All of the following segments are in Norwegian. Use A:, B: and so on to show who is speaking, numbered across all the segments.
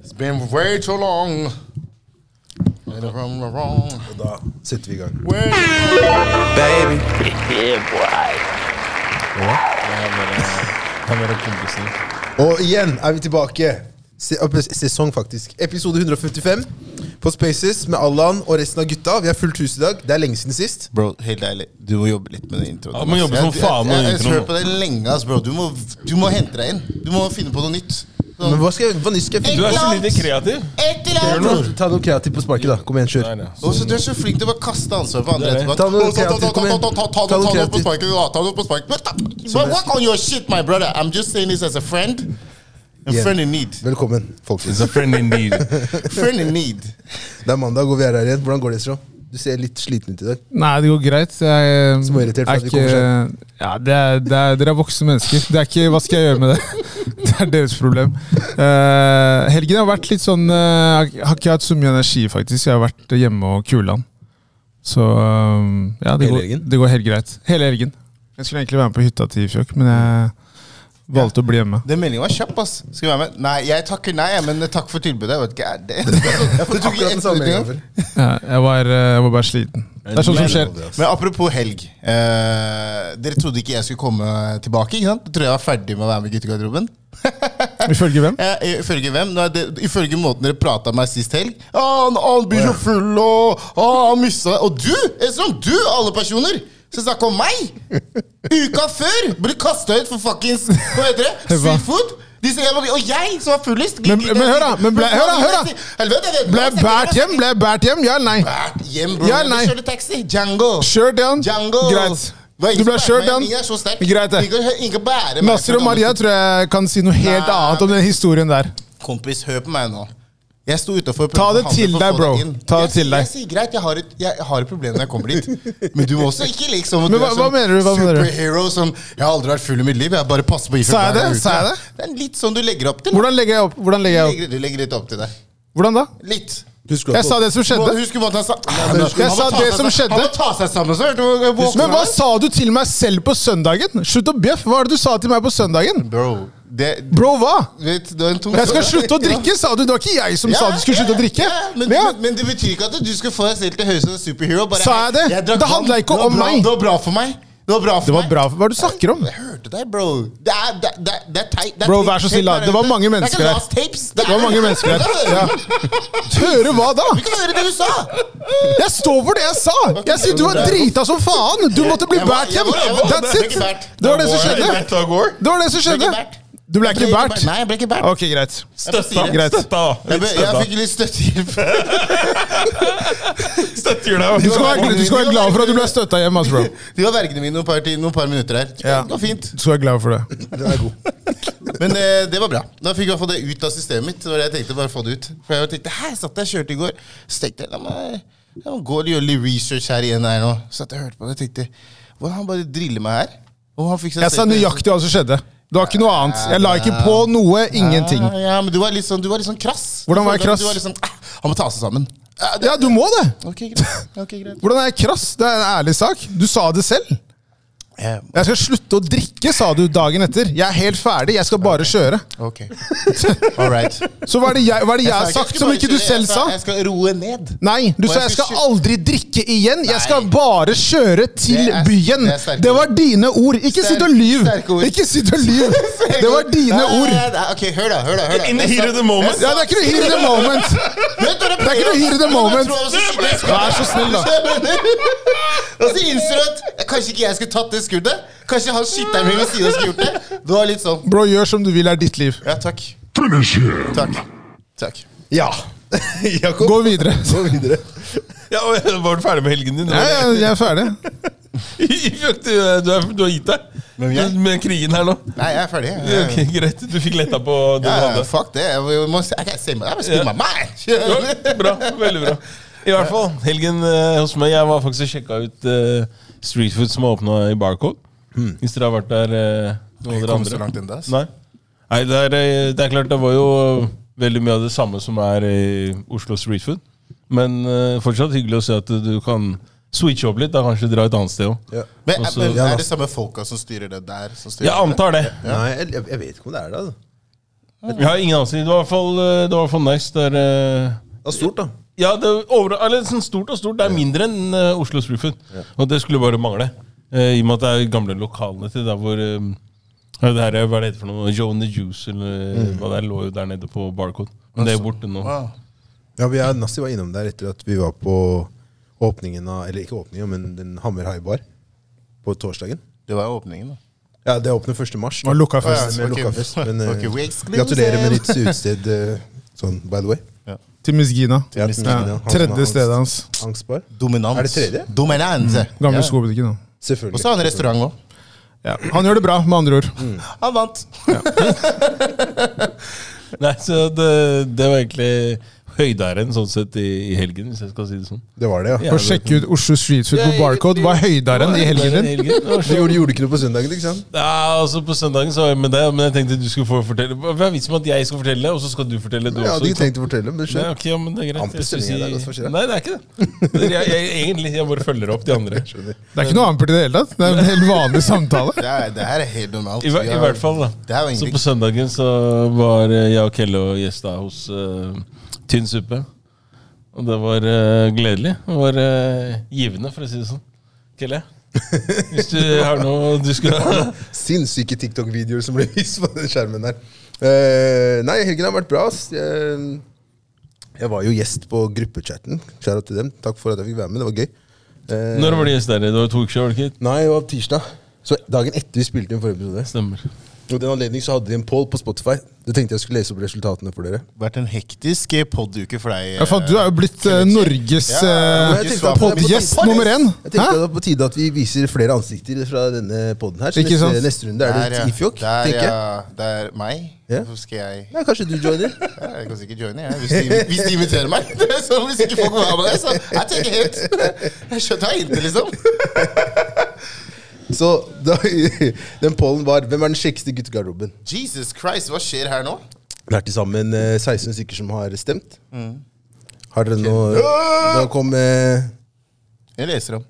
A: It's been way too long. Right from the wrong.
B: Og da setter vi i gang.
A: Way
C: Baby.
D: Han er kompisen.
B: Og igjen er vi tilbake. Se, opp- sesong, faktisk. Episode 155 på Spaces med Allan og resten av gutta. Vi har fullt hus i dag. Det er lenge siden sist.
A: Bro, helt ærlig, du må jobbe litt med den introen.
D: Ja, du må jobbe som
A: ass.
D: faen med
A: jeg, jeg, jeg,
D: introen.
A: har hørt på det lenge, ass, bro. Du må, du må hente deg inn. Du må finne på noe nytt.
B: Men hva, skal jeg, hva nytt skal jeg
D: Du
B: finne
D: er
B: på?
D: så lite kreativ.
A: Et eller
B: Ta
A: annet!
B: noe- Ta noe kreativt på sparket, da. Kom igjen, kjør.
A: Og så Du er så flink til å bare kaste ansvaret på andre
D: Det er det.
A: etterpå.
B: Ta noe
A: Å, ta- ta- ta-
B: kreativt, kom igjen.
A: ta- ta- ta-
B: Ta
A: Ta
B: noe
A: noe på
B: kreativt.
A: sparket. ja, Ta noe på sparket. But- But work on your shit, my brother. I'm just saying this as a friend. A
B: Yeah.
A: friend in need.
B: Velkommen, folkens.
D: It's a friend indeed.
A: Friend in need.
B: Det er mandag, og vi er her igjen. Hvordan går det, Esro? Du ser litt sliten ut i dag.
D: Nei, det går greit. Jeg eh,
B: Småirritert for at vi kommer
D: ja, det er, det er, Dere er voksne mennesker. Det er ikke, Hva skal jeg gjøre med det? Det er deres problem. Eh, helgen har vært litt sånn eh, Jeg har ikke hatt så mye energi, faktisk. Jeg har vært hjemme og kulan. Så eh, ja, det
B: Hele
D: går,
B: helgen?
D: det går helt greit. Hele helgen. Jeg skulle egentlig være med på hytta til Ifjok, men jeg valgte å bli hjemme.
A: Den meldingen var kjapp, ass. Skal vi være med? Nei, jeg takker nei, men takk for tilbudet. Jeg vet ikke, er det Jeg tok ikke
B: Akkurat den samme
A: ett
B: en
A: utgang.
B: gang før.
D: Ja, jeg, var, eh, jeg var bare sliten. Det er sånt som skjer.
A: Men apropos helg. eh, dere trodde ikke jeg skulle komme tilbake? ikke sant? Tror jeg var ferdig med å være med i guttegarderoben?
D: Ifølge hvem?
A: Eh, ifølge hvem? Nå er det, ifølge måten dere prata med meg sist helg. Ah, han, han blir så full, og ah, han mista Og du, Esrom, du av alle personer, som snakker om meg! Uka før ble kasta ut for fuckings Hva heter det?
D: Hva?
A: Seafood! De sier, jeg må- og jeg, som var fullest
D: Men- men hør da, men ble- hør da, hør da.
A: Helvete, jeg vet-
D: Ble jeg båret hjem? Ble jeg båret hjem? Ja eller nei?
A: Bært hjem, bro.
D: Ja,
A: Vi
D: nei.
A: kjørte taxi. Django.
D: Kjørt down?
A: Django.
D: Greit.
A: Det var ingen
D: Du ble
A: som
D: kjørt
A: bærte meg.
D: down?
A: Min er så sterk.
D: Greit, det.
A: Du kan ikke bære meg
D: Nasser
A: for
D: og Maria tror jeg kan si noe helt
A: Nei,
D: annet om den historien der.
A: Kompis, hør på meg nå. Jeg sto utenfor
D: Ta det
A: handlet
D: til
A: for å
D: deg,
A: få
D: bro.
A: inn.
D: Ta det
A: jeg,
D: til
A: sier-
D: deg.
A: Jeg sier greit, jeg har, et, jeg har et problem når jeg kommer dit. Men du må også ikke liksom at
D: Men
A: du er
D: hva-
A: sånn
D: hva mener du? Hva mener du?
A: Superhero som Jeg har aldri vært full i mitt liv. Jeg bare passer på ifra
D: Sa jeg
A: hver gang
D: det?
A: er ute.
D: Sa jeg det?
A: Det er litt sånn du legger opp til.
D: Hvordan legger jeg opp? Hvordan
A: Du
D: legger jeg opp?
A: legger, du legger litt opp til deg.
D: Hvordan da?
A: Litt.
B: Husker du
D: Jeg sa
B: at-
D: det som skjedde.
A: Husker du hva han sa?
D: men
A: Han
D: jeg
A: må
D: sa
A: ta
D: det
A: seg
D: som
A: sa-
D: skjjedde.
A: Han må ta seg sammen, så hørte du hvor-
D: Men hva sa du til meg selv på søndagen? Slutt å bjeffe! Hva var det du sa til meg på søndagen?
A: Bro, det,
D: Bro, hva?
A: vet, du er en tung
D: Jeg skal slutte å drikke, sa du. Det var ikke jeg som sa du skulle slutte å drikke.
A: Ja, men,
D: Ja.
A: men, men det betyr ikke at du skal få deg selv til høyeste som en superhero. Bare,
D: Sa jeg det?
A: drakk
D: Det handler
A: vann.
D: ikke
A: var
D: om
A: bra,
D: meg.
A: Det var bra for meg. Det var bra for
D: Det var
A: meg.
D: bra. Hva er det du snakker om?
A: Jeg hørte deg, bro. Det er, det, det, det er teit. det er
D: Bro,
A: tape-
D: vær så snill, da.
A: tape
D: Det var
A: der ute.
D: mange mennesker
A: Det
D: her.
A: er ikke last tapes.
D: Det var mange mennesker her. Ja. Høre hva da?
A: Vi kan høre det du sa.
D: Jeg står for det jeg sa! Jeg sier du er drita som faen! Du måtte bli
A: Jeg var- jeg
D: båret hjem!
A: var- jeg var- jeg
D: That's
A: ble
D: it!
A: ikke bært.
D: Det var det som
A: Jeg ble
D: skjedde.
A: ikke bært av gård.
D: Det var det
A: Jeg
D: som
A: ble
D: skjedde.
A: ikke bært.
D: Du ble ikke båret?
A: Nei, jeg ble ikke bært.
D: Ok, greit.
A: Støtta.
D: Greit.
A: Jeg, ble, jeg fikk litt støttehjelp.
D: Du skal være, du skal være glad for at du ble støtta hjem, ass, bro.
A: De var vergene mine noen par, ti- noen par minutter her.
D: Ja.
A: Det var fint.
D: Du skal være glad for det.
B: Den er god.
A: Men eh, det var bra. Da fikk jeg i hvert fall det ut av systemet mitt. Det var det jeg tenkte, bare få det ut. For jeg tenkte, her satt jeg og kjørte i går. Så tenkte jeg, la meg, la meg gå og gjøre litt research her igjen her nå. Så jeg hørte på det og tenkte, hvordan han bare driller meg her? Og han fikk seg
D: Jeg sa
A: selv til-
D: nøyaktig hva som skjedde. Det var ikke noe annet. Jeg la ikke på noe. Ingenting.
A: Ja, ja, men du var litt sånn, du var litt sånn krass.
D: Hvordan var jeg
A: Du
D: krass?
A: Du var litt sånn, ah, han må ta seg sammen. Ah, det-
D: Ja, du må det!
A: Ok, greit. Ok, greit.
D: Hvordan er jeg krass? Det er en ærlig sak. Du sa det selv.
A: Eh,
D: Jeg skal slutte å drikke, sa du dagen etter. Jeg er helt ferdig. Jeg skal bare kjøre.
A: Ok. All right.
D: Så hva er det jeg, hva er det jeg har
A: sa
D: sagt
A: jeg
D: som
A: skulle
D: ikke
A: bare kjøre,
D: du selv
A: jeg
D: sa?
A: Jeg skal roe ned.
D: Nei, du
A: Og
D: sa
A: jeg
D: jeg
A: skal
D: skal aldri drikke igjen. Jeg skal
A: Nei.
D: bare kjøre til
A: Det er-
D: byen.
A: det er sterke
D: Det var dine ord. Ikke
A: Sterk-
D: sitt og lyv.
A: sterke ord.
D: Ikke sitt og lyv. Det var dine
A: Nei, nei,
D: ord.
A: nei, nei, Ok, hør da, hør da. hør da.
C: In the
A: Jeg
C: heat
A: sa-
C: of the moment.
D: Ja, det er ikke noe here in the moment.
A: Vet du,
D: Det er ikke noe here in the moment. Vær så snill, da.
A: Og så innser du at kanskje ikke jeg skulle tatt det skuddet. Kanskje han skytteren min ved siden av skulle gjort det. Du var litt sånn.
D: Bro, gjør som du vil, er ditt liv.
A: Ja, takk. Takk. Takk.
B: Ja. Jakob,
D: Gå videre.
B: gå videre.
C: Ja, og- var du ferdig med helgen din?
D: Ja, ja, jeg er ferdig.
C: Fuck, du, du, er, du har gitt deg
A: Men jeg-
C: med krigen her nå.
A: Nei, jeg er ferdig. Jeg,
C: Ok, greit, du fikk letta på det
A: ja,
C: du
A: ja,
C: hadde.
A: fuck det. Jeg må- jeg må jeg kan si meg. Jeg må spille
C: Ja.
A: meg meg.
C: Ja, bra, veldig bra. I hvert fall, helgen eh, hos meg Jeg var faktisk og sjekka ut eh, Street Food som har åpna i Barcode. Hvis dere har vært der, eh, noen av
A: Hmm. Jeg
C: dere
A: kom så
C: andre.
A: langt enda, ass.
C: Nei, Nei det, er, eh, det er klart, det var jo veldig mye av det samme som er i Oslo Street Food. Men eh, fortsatt hyggelig å se at du kan switche opp litt. Da kanskje dra et annet sted òg.
B: Ja.
A: Men,
C: Og så-
A: men er det samme folka som styrer det der? Som styrer
C: Jeg antar det.
B: Nei, jeg, jeg vet ikke om det er det. altså.
C: Jeg har ingen anelse. Det var i hvert fall, eh, det var i hvert fall nice. Det er, eh,
B: Det er stort, da.
C: ja, det er over, eller, sånn stort og stort. Det er mindre enn eh, Oslo Street Food. Og det skulle bare mangle. eh, I og med at det er gamle lokalene til der hvor eh, ja, det her, er- Hva er det heter for noe? Joe and the Juice eller eh,
D: Mm.
C: hva det er, lå jo der nede på Barcode. Men det er borte nå.
A: Wow.
B: Ja, vi er, Nassi var innom der etter at vi var på åpningen av Eller ikke åpningen, men den Hammer High Bar på torsdagen.
A: Det var åpningen, da.
B: Ja, det åpner 1. mars.
D: Og lukka
A: Å, ja,
D: fest.
B: Med
A: ok.
B: lukka fest. Men eh,
A: Ok, we exclusive.
B: gratulerer med nytt utested. eh, sånn, by the way.
D: Til Miss Gina.
B: Ja, Miss Gina,
D: Ja,
B: han som har
D: tredje
B: angst.
D: stedet hans.
B: Angstbar.
A: Dominans.
B: Er det tredje?
A: Dominans.
C: Mm.
D: Gamle
A: Ja.
D: skobutikken. da.
A: Og
B: Selvfølgelig.
A: så har han restaurant òg.
D: Ja. Han gjør det bra, med andre ord.
A: Han vant.
C: Nei, så det, det var egentlig høyderen sånn sett i, i helgen, hvis jeg skal si det sånn.
B: Det var det, ja.
D: For å sjekke ut Oslo Street Food på Barcode var høyderen i helgen din.
C: Det var
B: Du
C: så-
B: gjorde, gjorde ikke noe på søndagen, ikke sant?
C: Ja, altså På søndagen så var jeg med deg, men jeg tenkte du skulle få fortelle. Hva er vitsen med at jeg skal fortelle, og så skal du fortelle, du
B: Jeg hadde
C: også?
B: ikke
A: sånn-
B: tenkt å fortelle, men
C: Nei,
B: skjønner.
C: ok, ja, men det er greit.
B: Amper
C: Jeg skulle
B: sending, det er godt for å si det.
C: Nei, det er ikke det. Det er- Jeg, jeg, egentlig, jeg bare følger opp de andre.
D: Det er ikke noe ampert i det hele tatt. Det er en helt vanlig samtale.
A: Det, er, det her er helt normalt.
C: I, hver- I hvert fall, da.
A: Det er jo
C: Så på
A: egentlig
C: søndagen så var eh, jeg og Kelle og gjesta hos eh, Tynn suppe. Og det var eh, gledelig. Det var eh, givende, for å si det sånn. Kelle, hvis du har noe du skulle
B: Sinnssyke TikTok-videoer som ble vist på den skjermen der. Eh, nei, helgen har vært bra. ass. Jeg, jeg var jo gjest på gruppechatten. Kjære til dem. Takk for at jeg fikk være med. Det var gøy. Eh,
C: Når var det gjest der? Det var to uker siden, var det ikke?
B: Nei, det var tirsdag. Så dagen etter vi spilte inn forrige episode.
C: Stemmer.
B: Og den anledning så hadde de en poll på Spotify. Det tenkte jeg skulle lese opp resultatene for dere.
A: vært en hektisk poduke for deg.
D: Ja, faen, du er jo blitt eh, Norges
A: Ja,
D: eh,
A: men
B: jeg tenkte at-
D: podgjest nummer én!
B: Jeg
D: Hæ?
B: tenkte det var på tide at vi viser flere ansikter fra denne podden her. Så
D: Ikke sant?
B: neste, neste runde er det Ifjok,
A: der,
B: tenker jeg.
A: ja. Det er meg.
B: Ja.
A: Hvorfor skal jeg
B: Ja, kanskje du joiner?
A: Ja, Jeg kan sikkert joine, jeg. Hvis de, hvis de inviterer meg. Det er sånn, hvis ikke folk vil ha med deg, så jeg tenker helt Jeg skjønner jeg ikke, liksom.
B: Så da, den pollen var Hvem er den kjekkeste guttegarderoben?
A: Jesus Christ, hva skjer her nå?
B: Det er til sammen eh, 16 stykker som har stemt.
C: Mm.
B: Har dere noe Da kom eh,
A: Jeg leser om.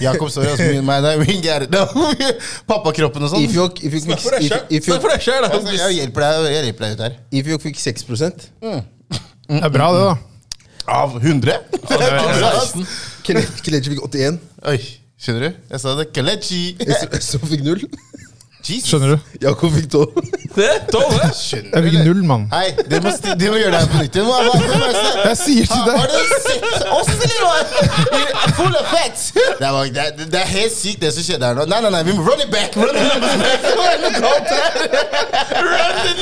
A: Jakob står jo også mye med deg. Min Gerhard og Pappakroppen og sånn.
B: Ifjok Ifjok fikk- If-
C: Snakk for
B: Ifjok-
C: deg sjøl, da!
A: Altså, Jeg hjelper deg jeg hjelper deg ut her.
B: Ifjok fikk 6
D: Det er bra, det, da.
A: Av 100?
B: Kelechi Kelechi fikk 81.
A: Oi, skjønner du? Jeg sa det. Kalechi.
B: Så- Så fikk 0.
A: Jesus.
D: Skjønner du?
B: Jakob fikk 12.
C: Det er tolv, det!
A: Skjønner
D: Jeg
A: du,
D: fikk
A: eller?
D: null, mann.
A: Hei, de må, sti- de må gjøre det her på nytt. igjen. Hva- hva- hva- hva-
D: Jeg sier til
A: Ha- Har
D: deg
A: dere sett oss, eller hva? I Full effect! Det, var, det, er- det er helt sykt, det som skjedde her nå. Nei, nei, nei, vi må run it back! Run the numbers back. Det var noe galt her. Run the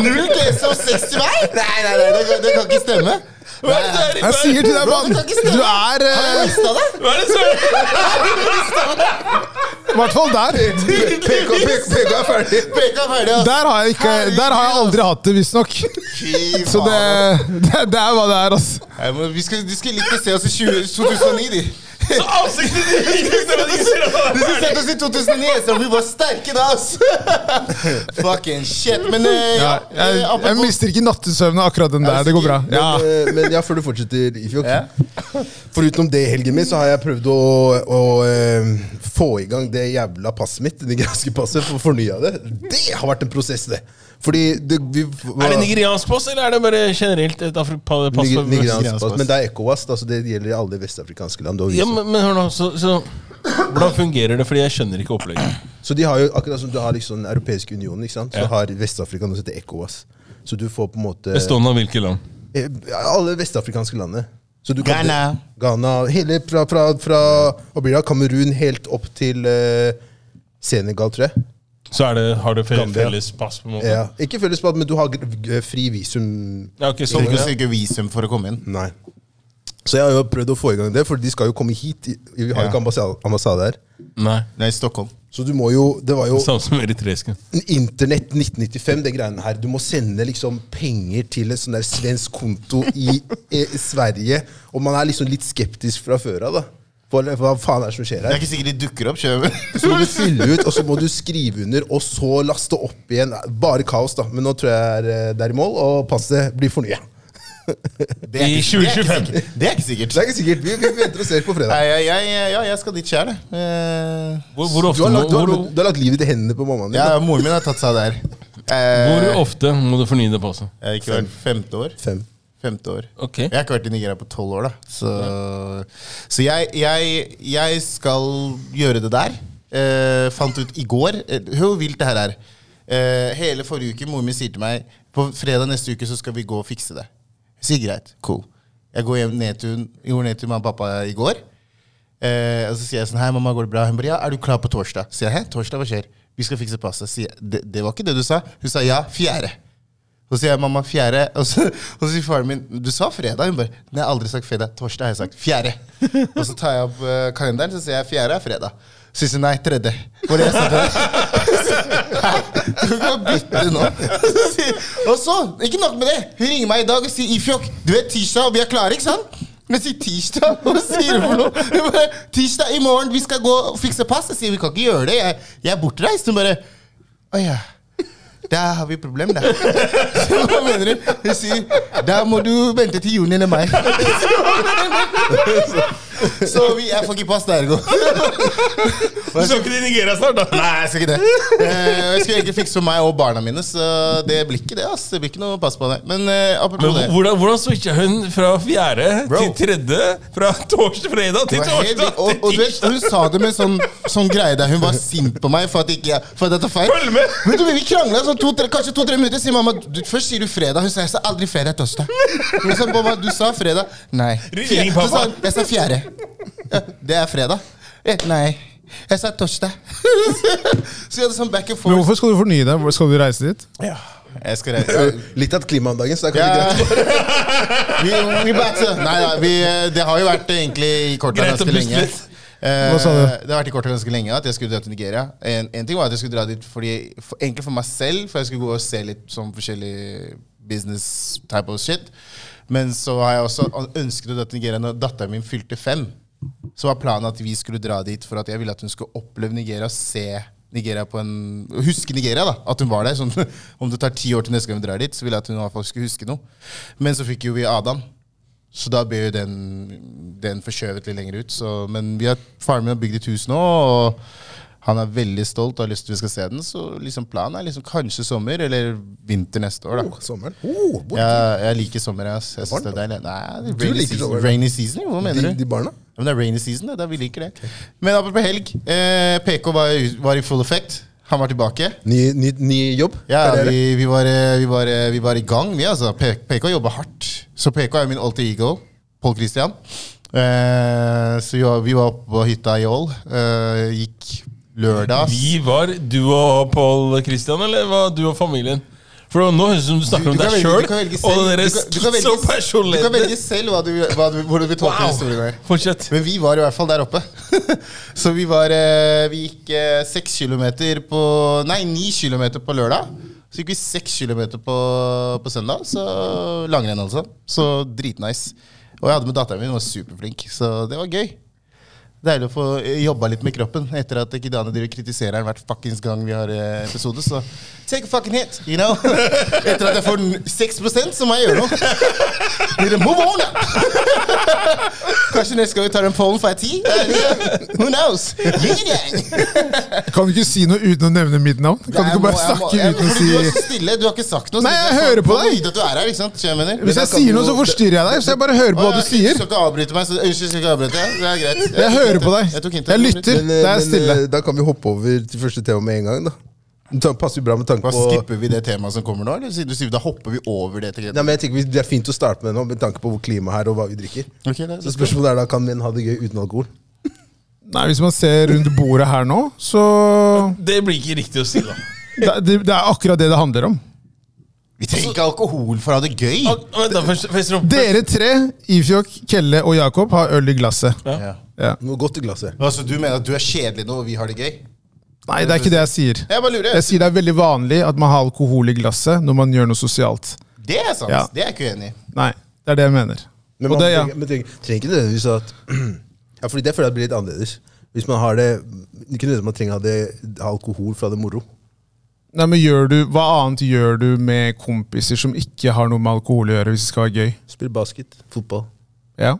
A: numbers! Null GC og 60 hver? Nei, nei, nei, det, kan- det kan ikke stemme.
C: Hva er det der i
D: Jeg
C: verden?
D: sier til deg, mann! Du er
A: Har
D: eh,
A: jeg mista det?
C: Hva er det som
D: i hvert fall der.
B: PK, PK, PK er ferdig.
A: Peka ferdig, ass.
D: Der har jeg, ikke, der har jeg aldri hatt det, visstnok.
A: Fy
D: Så det,
A: faen.
D: det, det er hva det er, altså.
A: Nei, men vi skal, de skulle likt å se oss i 20, 2009, de.
C: Så ansiktet ditt
A: De skulle sett oss i 2009, så vi var sterke da, ass! Fucking shit. Men eh, ja,
D: Jeg,
A: eh,
D: jeg
A: apropos
D: mister ikke nattesøvnen av akkurat den der. Det går bra.
B: Men,
D: Ja.
B: eh, men ja, før du fortsetter, Ifjok.
A: Ja.
B: Foruten det i helgen min, så har jeg prøvd å, å eh, få i gang det jævla passet mitt. Det nigerianske passet. Få fornya det. Det har vært en prosess, det. Fordi det, vi var-
C: Er det nigeriansk pass, eller er det bare generelt et afrikaner pass?
B: Niger- nigeriansk
A: pass.
B: pass. Men det er ECOWAS. Altså det gjelder i alle vestafrikanske land. det har vi
C: Ja,
B: sett.
C: men, men hør nå, så, så Hvordan fungerer det? Fordi jeg skjønner ikke opplegget.
B: Så de har jo, akkurat som du har liksom Den europeiske unionen, ikke sant? så
C: Ja.
B: har Vest-Afrika noe som heter ECOWAS. Så du får på en måte
C: Bestående av hvilke land?
B: Eh, Alle vestafrikanske landene. Så du kan-
A: Ghana.
B: Ghana hele fra, fra, fra hva blir det, da? Kamerun helt opp til eh, Senegal, tror jeg.
C: Så er det, har du fe-
B: Gambia.
C: felles pass, på en måte?
B: Ja. Ikke føles på at men du har g- fri visum.
C: Ja, ok, sånn,
A: Trenger ikke å
C: ja.
A: søke visum for å komme inn.
B: Nei. Så jeg har jo prøvd å få i gang det, for de skal jo komme hit. i- Vi har jo ikke ambassade, ambassade her.
C: Nei.
A: Det er i Stockholm.
B: Så du må jo Det var jo
C: Samme som eritreiske.
B: Internett 1995, det greiene her. Du må sende liksom penger til en sånn der svensk konto i, i Sverige. Og man er liksom litt skeptisk fra før av, da. For, hva faen er det som skjer
A: Det
B: her?
A: er ikke sikkert de dukker opp. Kjøper.
B: Så må du fylle ut, og så må du skrive under, og så laste opp igjen. Bare kaos, da. Men nå tror jeg er, eh, det er i mål, og passet blir fornya.
A: Det er ikke- det er
C: I
A: ikke
C: 2025.
A: sikkert. Det er ikke sikkert.
B: Det er ikke sikkert. Vi, vi venter og ser på fredag.
A: Nei, jeg, jeg, ja, jeg skal dit sjøl, jeg. Eh,
C: Hvor, hvor,
B: Du
C: ofte,
B: har, lagt, du,
C: må,
B: har,
C: hvor,
B: du har lagt livet i hendene på mammaen din.
A: Ja, moren min har tatt seg der.
C: hvor
A: Eh,
C: ofte må du fornye det passet?
A: jeg har ikke vært femte år.
B: Fem.
A: Femte år.
C: Ok.
A: Jeg har ikke vært i Nigeria på tolv år, da. Så, så jeg, jeg, jeg skal gjøre det der. Eh, fant ut i går eh, Hvor vilt det her er. Eh, hele forrige uke moren min sier til meg på fredag neste uke så skal vi gå og fikse det. Jeg sier greit. Cool. Jeg går hjem ned til, hun- gjorde nedtur med han pappa i går. Eh, og så sier jeg sånn Hei, mamma, går det bra? Hun bare ja, er du klar på torsdag? Sier jeg hæ, torsdag, hva skjer? Vi skal fikse passet. Sier jeg, det, det var ikke det du sa. Hun sa ja, fjerde. Så sier jeg mamma fjerde, og så, og så sier faren min du sa fredag. Hun bare nei, jeg har aldri sagt fredag. Torsdag har jeg sagt. Fjerde. Og så tar jeg opp eh, kalenderen, så sier jeg fjerde er fredag. Så sier hun nei, tredje. Hvor er jeg sa til deg? Du kan bytte det nå. Så sier- Og så, ikke nok med det, hun ringer meg i dag og sier Ifjok, du vet tirsdag, og vi er klare, ikke sant? Men jeg sier tirsdag, hva sier du for noe? Hun bare, tirsdag i morgen, vi skal gå og fikse pass. Jeg sier vi kan ikke gjøre det, jeg, jeg er bortreist. Hun bare Å ja. Da har vi problem, da. Så hva mener du? Hun sier da må du vente til juni eller mai. Så vi, jeg får ikke pass der engang.
C: Du skal ikke til Nigeria snart, da?
A: Nei, jeg skal ikke det. Eh, Jeg skulle egentlig fikse for meg og barna mine, så det blir ikke det. ass. Det blir ikke noe pass på det. Men eh,
C: Men
A: apropos det.
C: hvor- hvordan, hvordan switcha hun fra fjerde til tredje? Fra torsdag fredag til
A: Det var helt
C: torsdag
A: vilt. og, og
C: til
A: du vet,
C: tirsdag?
A: Hun sa det med sånn, sånn greie der. Hun var sint på meg for at, ikke, jeg- for at jeg tar feil.
C: Følg med!
A: Men du, vi krangla sånn to, tre, kanskje to-tre minutter. Sier mamma, du, først sier du fredag. Hun sa jeg sa aldri fredag torsdag. Hun sa mamma, du sa fredag. Nei.
C: Ring
A: Fjer-
C: pappa.
A: Så sa hun, jeg sa fjerde. Ja, Det er fredag. Eh, Nei. Jeg sa torsdag. Så vi hadde sånn back and
D: Men
A: forth.
D: hvorfor skal du fornye deg? Hvor- Skal du reise dit?
A: Ja, jeg skal reise.
B: Eh, Litt av klimaandagen, så det er kanskje
A: Ja.
B: greit.
A: Vi, vi batser. Nei, nei vi, eh, det har jo vært eh, egentlig i korta
C: Greit å
A: ganske
C: puste
A: lenge.
C: litt.
A: Eh,
D: Hva sa du?
A: Det har vært i korta ganske lenge at jeg skulle dra til Nigeria. En, en ting var at jeg skulle dra dit fordi, for, egentlig for meg selv, for jeg skulle gå og se litt sånn forskjellig business type of shit. Men så har jeg også ønsket å dra til Nigeria når datteren min fylte fem. Så var planen at vi skulle dra dit for at jeg ville at hun skulle oppleve Nigeria, se Nigeria på en Huske Nigeria, da. At hun var der. Sånn, om det tar ti år til neste gang vi drar dit, så ville jeg at hun i hvert fall skulle huske noe. Men så fikk jo vi Adam. Så da blir jo den, den forskjøvet litt lenger ut. Så, men vi har, faren min har bygd et hus nå, og han er veldig stolt og har lyst til vi skal se den. Så liksom planen er liksom kanskje sommer eller vinter neste år. da.
B: Åh, Sommeren. Oh, bort.
A: Jeg, jeg liker sommer. Jeg, altså. jeg synes det er deilig. Nei, det er
B: Du
A: rainy
B: liker
A: season.
B: sommer, da.
A: Rainy season, hva mener
B: de,
A: du?
B: de barna.
A: Ja, Men det er rainy season, det. Da, vi liker det. Men apropos helg. Eh, PK var, var i full effect. Han var tilbake.
B: Ny, ny, ny jobb.
A: Ja,
B: Karriere.
A: vi, vi, var, eh, vi, var, eh, vi var i gang, vi. altså. P- PK jobber hardt. Så PK er min alter ego. Pål Christian. Eh, så vi var, vi var oppe på hytta i Ål. Eh, gikk lørdag.
C: Vi var du og Pål Christian, eller var du og familien? For nå høres det ut som du snakker om
A: kan
C: deg
A: velge-
C: sjøl
A: du kan velge
C: og
A: selv-
C: den
A: du kan- du kan velge-
C: skits og
A: Du kan velge
C: personlighet.
A: selv hva du, hva du, hvordan du tolker historien her.
C: Fortsett.
A: Men vi var i hvert fall der oppe. så vi var eh, Vi gikk eh, seks kilometer på Nei, ni kilometer på lørdag. Så gikk vi seks kilometer på, på søndag. Så langrenn, altså. Så dritnice. Og jeg hadde med datteren min, hun var superflink. Så det var gøy. Deilig å få eh, jobba litt med kroppen etter at Kidane driver og kritiserer han hver fuckings gang vi har eh, episode. Så take a fucking hit, you know. Etter at jeg får n- 6 så må jeg gjøre noe. Need to move on up. Kanskje neste gang vi tar en pollen, får jeg ti? Who knows? Yin-yang!
D: Kan du ikke si noe uten å nevne mitt navn? Kan du ikke bare snakke uten å
A: Du er så
D: si
A: stille, du har ikke sagt noe. så
D: Nei, jeg
A: folk
D: hører på
A: får
D: deg.
A: vite at du er her, ikke sant? Skjønner jeg mener?
D: Hvis jeg sier noe, så forstyrrer jeg deg. Så jeg bare hører på
A: Å,
D: hva
A: ja,
D: du sier.
A: Skal ikke avbryte meg, så unnskyld, skal ikke avbryte. deg. Det er greit.
D: Jeg
A: tok
D: hører
A: hintet.
D: på deg.
A: Jeg tok hintet.
D: Jeg lytter.
B: Men, eh,
D: Det er
B: men,
D: stille.
B: eh, da kan vi hoppe over til første tema med en gang. da Det tar- passer jo bra med tanke
A: Hva,
B: på
A: skipper vi det temaet som kommer nå, eller sier du sier, da hopper vi over det? til
B: Nei, men jeg tenker vi- Det er fint å starte med det nå, med tanke på hvor klimaet er og hva vi drikker.
A: Ok, det er-
B: Så spørsmålet er da, Kan menn ha det gøy uten alkohol?
D: Nei, Hvis man ser rundt bordet her nå, så
C: Det blir ikke riktig å si, da.
D: Det, det, det er akkurat det det handler om.
A: Vi trenger ikke alkohol for å ha det gøy.
C: Og- Vent, da. Først, først, først,
D: Dere tre, Ifjok, Kelle og Jakob, har øl i glasset.
C: ja.
D: Ja.
B: Noe godt i glasset.
A: Altså, Du mener at du er kjedelig nå, og vi har det gøy?
D: Nei, det er ikke det jeg sier.
A: Jeg bare lurer.
D: Jeg sier det er veldig vanlig at man har alkohol i glasset når man gjør noe sosialt.
A: Det er sant.
D: Ja.
A: Det er jeg ikke uenig i.
D: Nei, det er det jeg mener.
B: Men
D: Og
B: man
D: det, ja.
B: trenger, men trenger, trenger ikke nødvendigvis at Ja, fordi det føler jeg blir litt annerledes. Hvis man har det Ikke nødvendigvis man trenger å ha, det, ha alkohol for å ha det moro.
D: Nei, men gjør du, Hva annet gjør du med kompiser som ikke har noe med alkohol å gjøre, hvis det skal være gøy?
B: Spille basket, fotball.
D: Ja?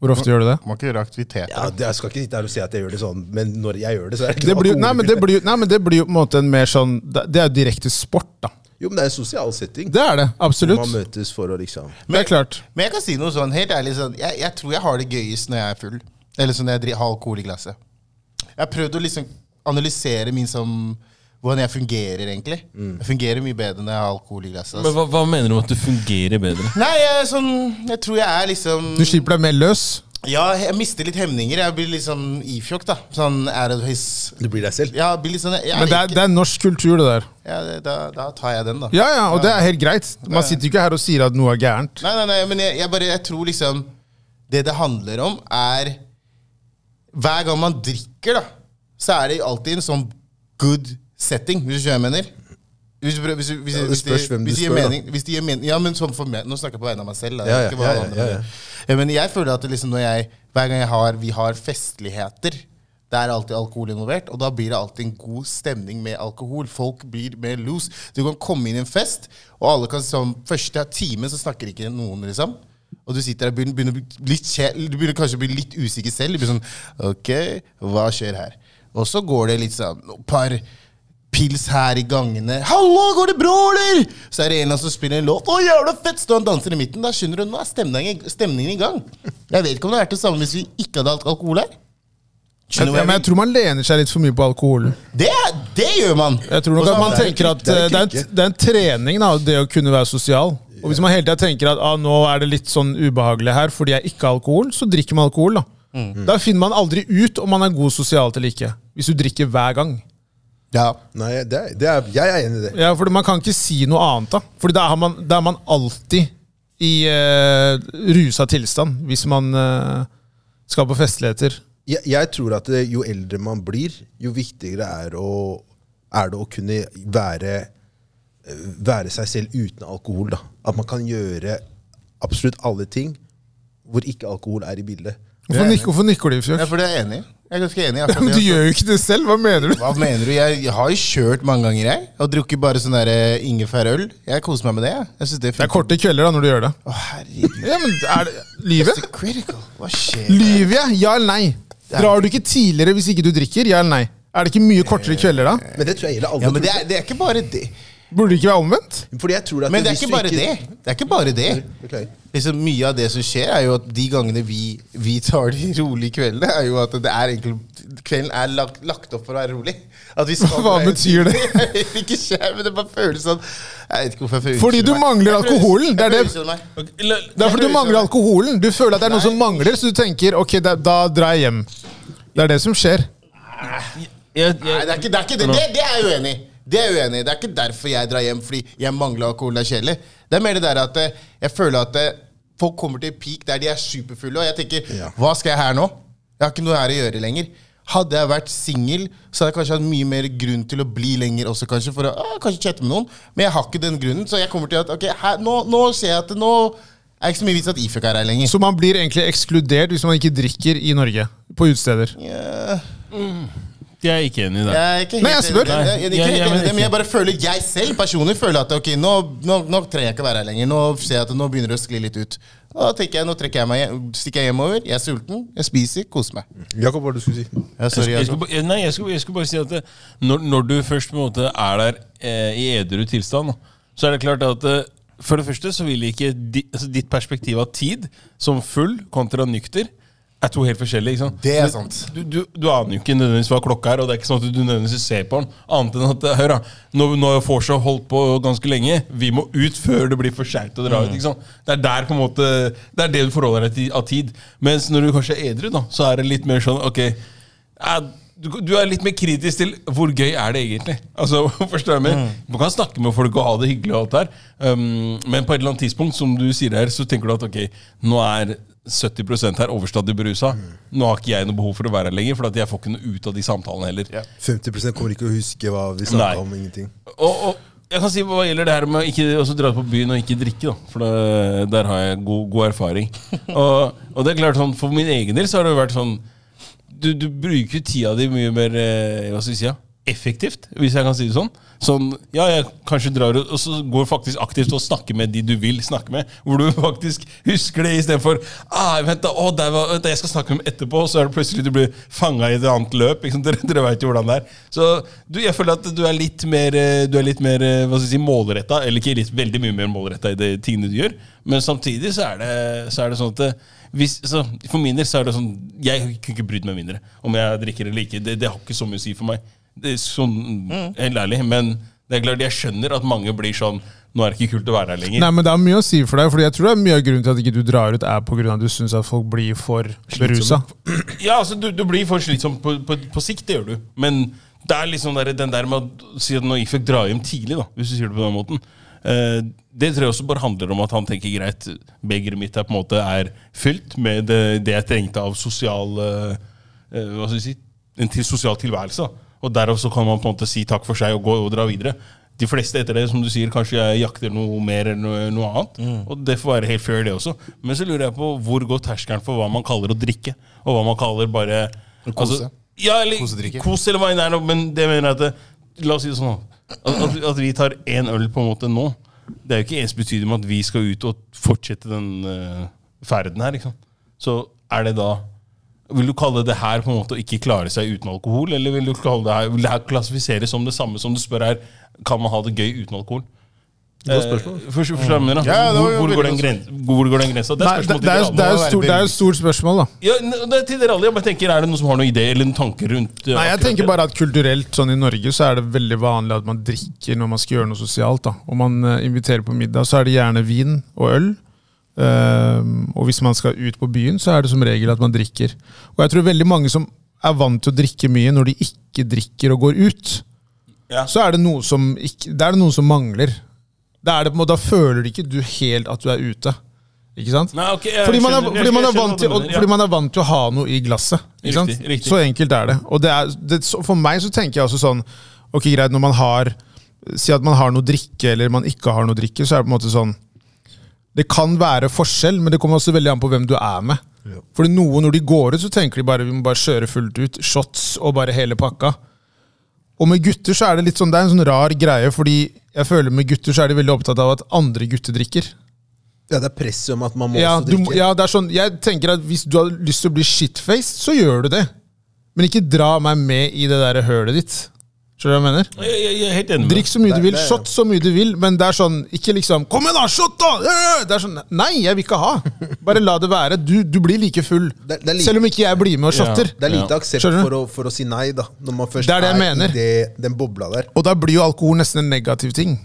D: Hvor ofte gjør du det?
A: Må ikke gjøre aktiviteter.
B: Ja, det- Jeg skal ikke sitte her og si at jeg gjør det sånn, men når jeg gjør det, så er det ikke
D: Det
B: noe
D: blir, jo- nei, men det
B: alkoholbruk.
D: blir, jo- nei, men det blir jo på en måte en mer sånn Det det er jo direkte sport, da.
B: Jo, men det er en sosial setting.
D: Det er det.
B: Man
D: Absolutt.
B: møtes for å liksom
D: Det er klart.
A: Men jeg kan si noe sånn, helt ærlig sånn, jeg, jeg tror jeg har det gøyest når jeg er full. Eller sånn når jeg dri- har alkohol i glasset. Jeg har prøvd å liksom analysere min som, hvordan jeg fungerer, egentlig.
D: Mm.
A: Jeg fungerer mye bedre når jeg har alkohol i glasset.
C: Men
A: Altså.
C: hva, hva mener du om at du fungerer bedre?
A: Nei, jeg, er sånn, jeg tror jeg er liksom
D: Du slipper deg mer løs.
A: Ja, jeg mister litt hemninger. Jeg blir litt sånn ifjokk, da. Sånn out of his
B: Du blir deg selv.
A: Ja, blir litt sånn jeg,
D: Men det er, det er norsk kultur, det der.
A: ja, det- da, da tar jeg den, da.
D: Ja, ja, og det er helt greit. Man sitter jo ikke her og sier at noe er gærent.
A: Nei, nei, nei, men jeg, jeg bare Jeg tror liksom Det det handler om, er Hver gang man drikker, da, så er det alltid en sånn good setting, hvis du skjønner hva jeg mener. Hvis, du prøver- hvis, du- hvis,
B: Ja, det
A: hvis,
B: spørs
A: det-
B: hvem du
A: hvis det gir
B: spør, da.
A: mening, hvis det gir mening Ja, men sånn for meg Nå snakker jeg på vegne av meg selv. Da.
B: Ja, ja,
A: ikke hva
B: ja, ja,
A: andre
B: ja,
A: mener. Ja, men jeg føler at det liksom når jeg, hver gang jeg har, vi har festligheter, det er alltid alkohol involvert, og da blir det alltid en god stemning med alkohol. Folk blir mer loose. Du kan komme inn i en fest, og alle kan sånn, første time så snakker ikke noen, liksom. Og du sitter der og begynner, begynner, å bli litt, kje- du begynner kanskje å bli litt usikker selv. Du blir sånn, ok, hva skjer her? Og så går det litt sånn, et par pils her i gangene. 'Hallo, går det bra, eller?' Så er det en eller annen som spiller en låt. 'Å, jævla fett!' Står han og danser i midten. Da skjønner du nå er stemningen, stemningen i gang. Jeg vet ikke om det hadde vært det samme hvis vi ikke hadde hatt alkohol her. Skjønner du hva
D: Ja, men
A: jeg
D: jeg
A: mener?
D: tror man lener seg litt for mye på alkoholen.
A: Det, det gjør man!
D: Jeg tror nok
A: Og så
D: at man
A: er det-
D: tenker at
B: det er
D: eh, det er,
B: ikke-
D: en, det er en trening, da, det å kunne være sosial. Og hvis man hele tida tenker at ah, nå er det litt sånn ubehagelig her fordi jeg ikke har alkohol, så drikker man alkohol, da. Da finner man aldri ut om man er god sosialt eller ikke. Hvis du drikker hver gang.
A: Ja.
B: Nei, det er, det er, jeg er enig i det.
D: Ja, for Man kan ikke si noe annet, da. For da er man, da er man alltid i eh, rusa tilstand hvis man eh, skal på festligheter.
B: jeg, jeg tror at eh, jo eldre man blir, jo viktigere er, å, er det å kunne være, eh, være seg selv uten alkohol. Da. At man kan gjøre absolutt alle ting hvor ikke alkohol er i bildet.
D: Hvorfor, nik hvorfor nikker du,
A: ja,
D: Fjokk?
A: for det er jeg enig i. Jeg er ganske enig. i akkurat
D: Men du
A: det.
D: gjør jo ikke det selv! Hva mener du?
A: Hva mener du? Jeg, jeg har jo kjørt mange ganger, jeg. Og drukket bare sånn der, eh, ingefærøl. Jeg koser meg med det. jeg. Jeg synes det er
D: Det er korte kvelder da når du gjør det.
A: Å, herregud.
D: Ja, men er det Lyver?
A: Critical. Hva skjer?
D: Lyver jeg? Ja eller nei? Drar du ikke tidligere hvis ikke du drikker? Ja eller nei? Er det ikke mye kortere kvelder da?
B: Men det tror jeg gjelder alle.
A: Ja, men det
B: tror
A: er, det er ikke bare det.
D: Burde det ikke være omvendt?
B: jeg. Fordi jeg tror at
A: Men det er
B: hvis
A: ikke
B: du
A: bare det. Det er ikke bare det.
B: Beklager.
A: Liksom Mye av det som skjer, er jo at de gangene vi, vi tar de rolige kveldene, er jo at det er egentlig, kvelden er lagt, lagt opp for å være rolig. At vi skal
D: Hva betyr det?
A: Jeg vet ikke selv, men det bare føles sånn Jeg vet ikke hvorfor jeg føler
D: Fordi du mangler alkoholen, det er det-
A: det.
C: Ok, la-
D: Det er fordi du mangler alkoholen. Du føler at det er noe som mangler, så du tenker ok, da, da drar jeg hjem. Det er det som skjer.
C: jeg,
A: Nei, det
C: jeg,
A: er ikke det. Er ikke det. det, det er jeg uenig i. Det er jeg uenig i. Det er ikke derfor jeg drar hjem fordi jeg mangler alkohol. Det er kjedelig. Det er mer det der at eh, jeg føler at eh, folk kommer til et peak der de er superfulle, og jeg tenker
B: Ja.
A: hva skal jeg her nå? Jeg har ikke noe her å gjøre lenger. Hadde jeg vært singel, så hadde jeg kanskje hatt mye mer grunn til å bli lenger også, kanskje, for å ah, kanskje chatte med noen. Men jeg har ikke den grunnen, så jeg kommer til at ok, her, nå, nå ser jeg at det- nå er det ikke så mye vits at Ifjøk er her lenger.
D: Så man blir egentlig ekskludert hvis man ikke drikker i Norge. På utesteder.
A: Ja.
C: jeg er ikke enig i det.
A: Jeg er ikke helt
D: Nei, jeg spør.
A: enig. Jeg, jeg, er ikke
C: Nei, jeg-
A: helt enig i
C: jeg mener
A: det, men jeg
C: ikke.
A: bare føler Jeg selv personlig føler at ok, nå, nå, nå trenger jeg ikke være her lenger. Nå ser jeg at nå begynner det å skli litt ut. Og Da tenker jeg, Nå trekker jeg meg, hjem- stikker jeg hjemover. Jeg er sulten, jeg spiser, koser meg.
B: Jakob, hva var det du skulle si?
A: Ja, sorry,
C: jeg
A: jeg,
C: skulle, ba- nei, jeg skulle, jeg skulle bare si at det, når, når du først på en måte er der eh, i edru tilstand, da, så er det klart at eh, for det første så vil ikke di, altså ditt perspektiv av tid som full kontra nykter er to helt forskjellige. ikke sant?
A: Det er sant.
C: Du, du, du aner jo ikke nødvendigvis hva klokka er, og det er ikke sånn at du nødvendigvis ser på den. Annet enn at eh, hør da, nå, nå har Forsa holdt på ganske lenge, vi må ut før det blir for seint
A: Mm.
C: å dra ut. ikke sant? Det er der på en måte, det er det du forholder deg til av tid. Mens når du kanskje er edru, da, så er det litt mer sånn ok, ja, du, du er litt mer kritisk til hvor gøy er det egentlig. Altså, forstår jeg meg? Man kan snakke med folk og ha det hyggelig, og alt der, um, men på et eller annet tidspunkt som du sier her, så tenker du at ok, nå er 70 her overstadig berusa. Nå har ikke jeg noe behov for å være her lenger, for at jeg får ikke noe ut av de samtalene heller.
B: 50 kommer ikke å huske hva vi
C: Nei.
B: snakka om. Ingenting.
C: Og, og jeg kan si hva gjelder det her med å ikke også dra på byen og ikke drikke, da. For det, der har jeg god, god erfaring. Og, og det er klart sånn, for min egen del så har det jo vært sånn Du, du bruker jo tida di mye mer eh, Hva skal vi si? Ja? effektivt, hvis jeg kan si det sånn. Sånn, ja, jeg kanskje drar ut, og så går faktisk aktivt og snakker med de du vil snakke med. Hvor du faktisk husker det istedenfor ah, vent da, å, der var, vent da, jeg skal snakke med dem etterpå, og så er det plutselig du blir fanga i et annet løp. Ikke sant? Dere, dere vet jo hvordan det er. Så du, jeg føler at du er litt mer, eh, du er litt mer eh, hva skal jeg si, målretta, eller ikke litt, veldig mye mer målretta i de tingene du gjør, men samtidig så er det, så er det sånn at eh, hvis, så, for min del så er det sånn Jeg kunne ikke brydd meg mindre om jeg drikker eller ikke. Det, det har ikke så mye å si for meg. Det er sånn, Helt ærlig. Men det er klart jeg skjønner at mange blir sånn Nå er det ikke kult å være her lenger.
D: Nei, men Det er mye å si for deg, Fordi jeg tror det er mye av grunnen til at ikke du drar ut, er på grunn av at du syns at folk blir for berusa.
C: Ja, altså, du, du blir for slitsom på, på, på sikt, det gjør du. Men det er liksom der, den der med å si at når jeg fikk dra hjem tidlig, da, hvis du sier det på den måten eh, Det tror jeg også bare handler om at han tenker greit, begeret mitt er på en måte er fylt med det, det jeg trengte av sosial eh, eh, Hva skal jeg si En til sosial tilværelse. da. Og derav så kan man på en måte si takk for seg og gå og dra videre. De fleste etter det, som du sier, kanskje jeg jakter noe mer enn noe, noe annet. Og det får være helt fair, det også. Men så lurer jeg på hvor går terskelen for hva man kaller å drikke, og hva man kaller bare altså,
A: Kose.
C: ja, eller
A: Kosedrikke.
C: kos eller hva enn det er, nå, men det mener jeg at det, La oss si det sånn, da. at, at, at vi tar én øl på en måte nå, det er jo ikke ensbetydelig med at vi skal ut og fortsette den eh, ferden her. ikke sant? Så er det da Vil du kalle det her på en måte å ikke klare seg uten alkohol, eller vil du kalle det her, vil det her klassifiseres som det samme som du spør her, kan man ha det gøy uten alkohol?
B: Godt spørsmål.
C: Eh, forstår du hva jeg mener, da?
A: Ja, det var
C: hvor,
A: jo
C: hvor, går
A: veldig
C: den gren, hvor går den grensa? Det
D: Nei,
C: er
D: det,
C: spørsmål
D: det, er,
C: til
D: det,
C: dere
D: er
C: alle.
D: jo stort, det er jo et stort spørsmål, da.
C: Ja, det er til dere alle. Jeg bare tenker, Er det noen som har noen ideer eller noen tanker rundt eh,
D: Nei, jeg
C: akkurat det?
D: tenker bare at kulturelt sånn I Norge så er det veldig vanlig at man drikker når man skal gjøre noe sosialt. da. Om man eh, inviterer på middag, så er det gjerne vin og øl. Ehm, og hvis man skal ut på byen, så er det som regel at man drikker. Og jeg tror veldig mange som er vant til å drikke mye når de ikke drikker og går ut,
C: Ja.
D: så er det noe som, ikke, det er det noe som mangler. Det er det, på en måte- da føler ikke du helt at du er ute. Ikke sant?
C: Nei, ok, jeg
D: Fordi man, er,
C: skjønner- jeg-
D: fordi, man
C: jeg
D: er vant
C: skjønner
D: til,
C: hva
D: å-
C: du mener,
D: fordi man er vant til å ha noe i glasset. Ikke sant?
C: Riktig, riktig.
D: Så enkelt er det. Og det er, det, så for meg så tenker jeg også sånn Ok, greit, når man har Si at man har noe drikke, eller man ikke har noe drikke, så er det på en måte sånn Det kan være forskjell, men det kommer også veldig an på hvem du er med. Fordi noen, når de går ut, så tenker de bare vi må bare kjøre fullt ut. Shots og bare hele pakka. Og med gutter så er det litt sånn, det er en sånn rar greie, fordi jeg føler med gutter så er de veldig opptatt av at andre gutter drikker.
B: Ja, det er presset om at man må
D: Ja,
B: også
D: du,
B: drikke.
D: må- ja, det er sånn Jeg tenker at hvis du har lyst til å bli shitfaced, så gjør du det. Men ikke dra meg med i det der hølet ditt. Skjønner du hva jeg mener?
C: ja. Jeg, jeg, jeg er helt enig med deg.
D: Drikk så mye du vil,
B: det er-
D: shot så mye du vil, men det er sånn Ikke liksom 'Kom igjen, da! Shot, da!' Øh, Det er sånn Nei, jeg vil ikke ha. Bare la det være. Du, du blir like full.
B: Det- det er like-
D: Selv om ikke jeg blir med og shotter.
B: Det er lite
C: Ja.
B: aksept
D: Skjønner du?
B: for å, for å si nei, da. Når man først
D: Det er det jeg mener.
B: i det, den bobla der.
D: Og da blir jo alkohol nesten en negativ ting.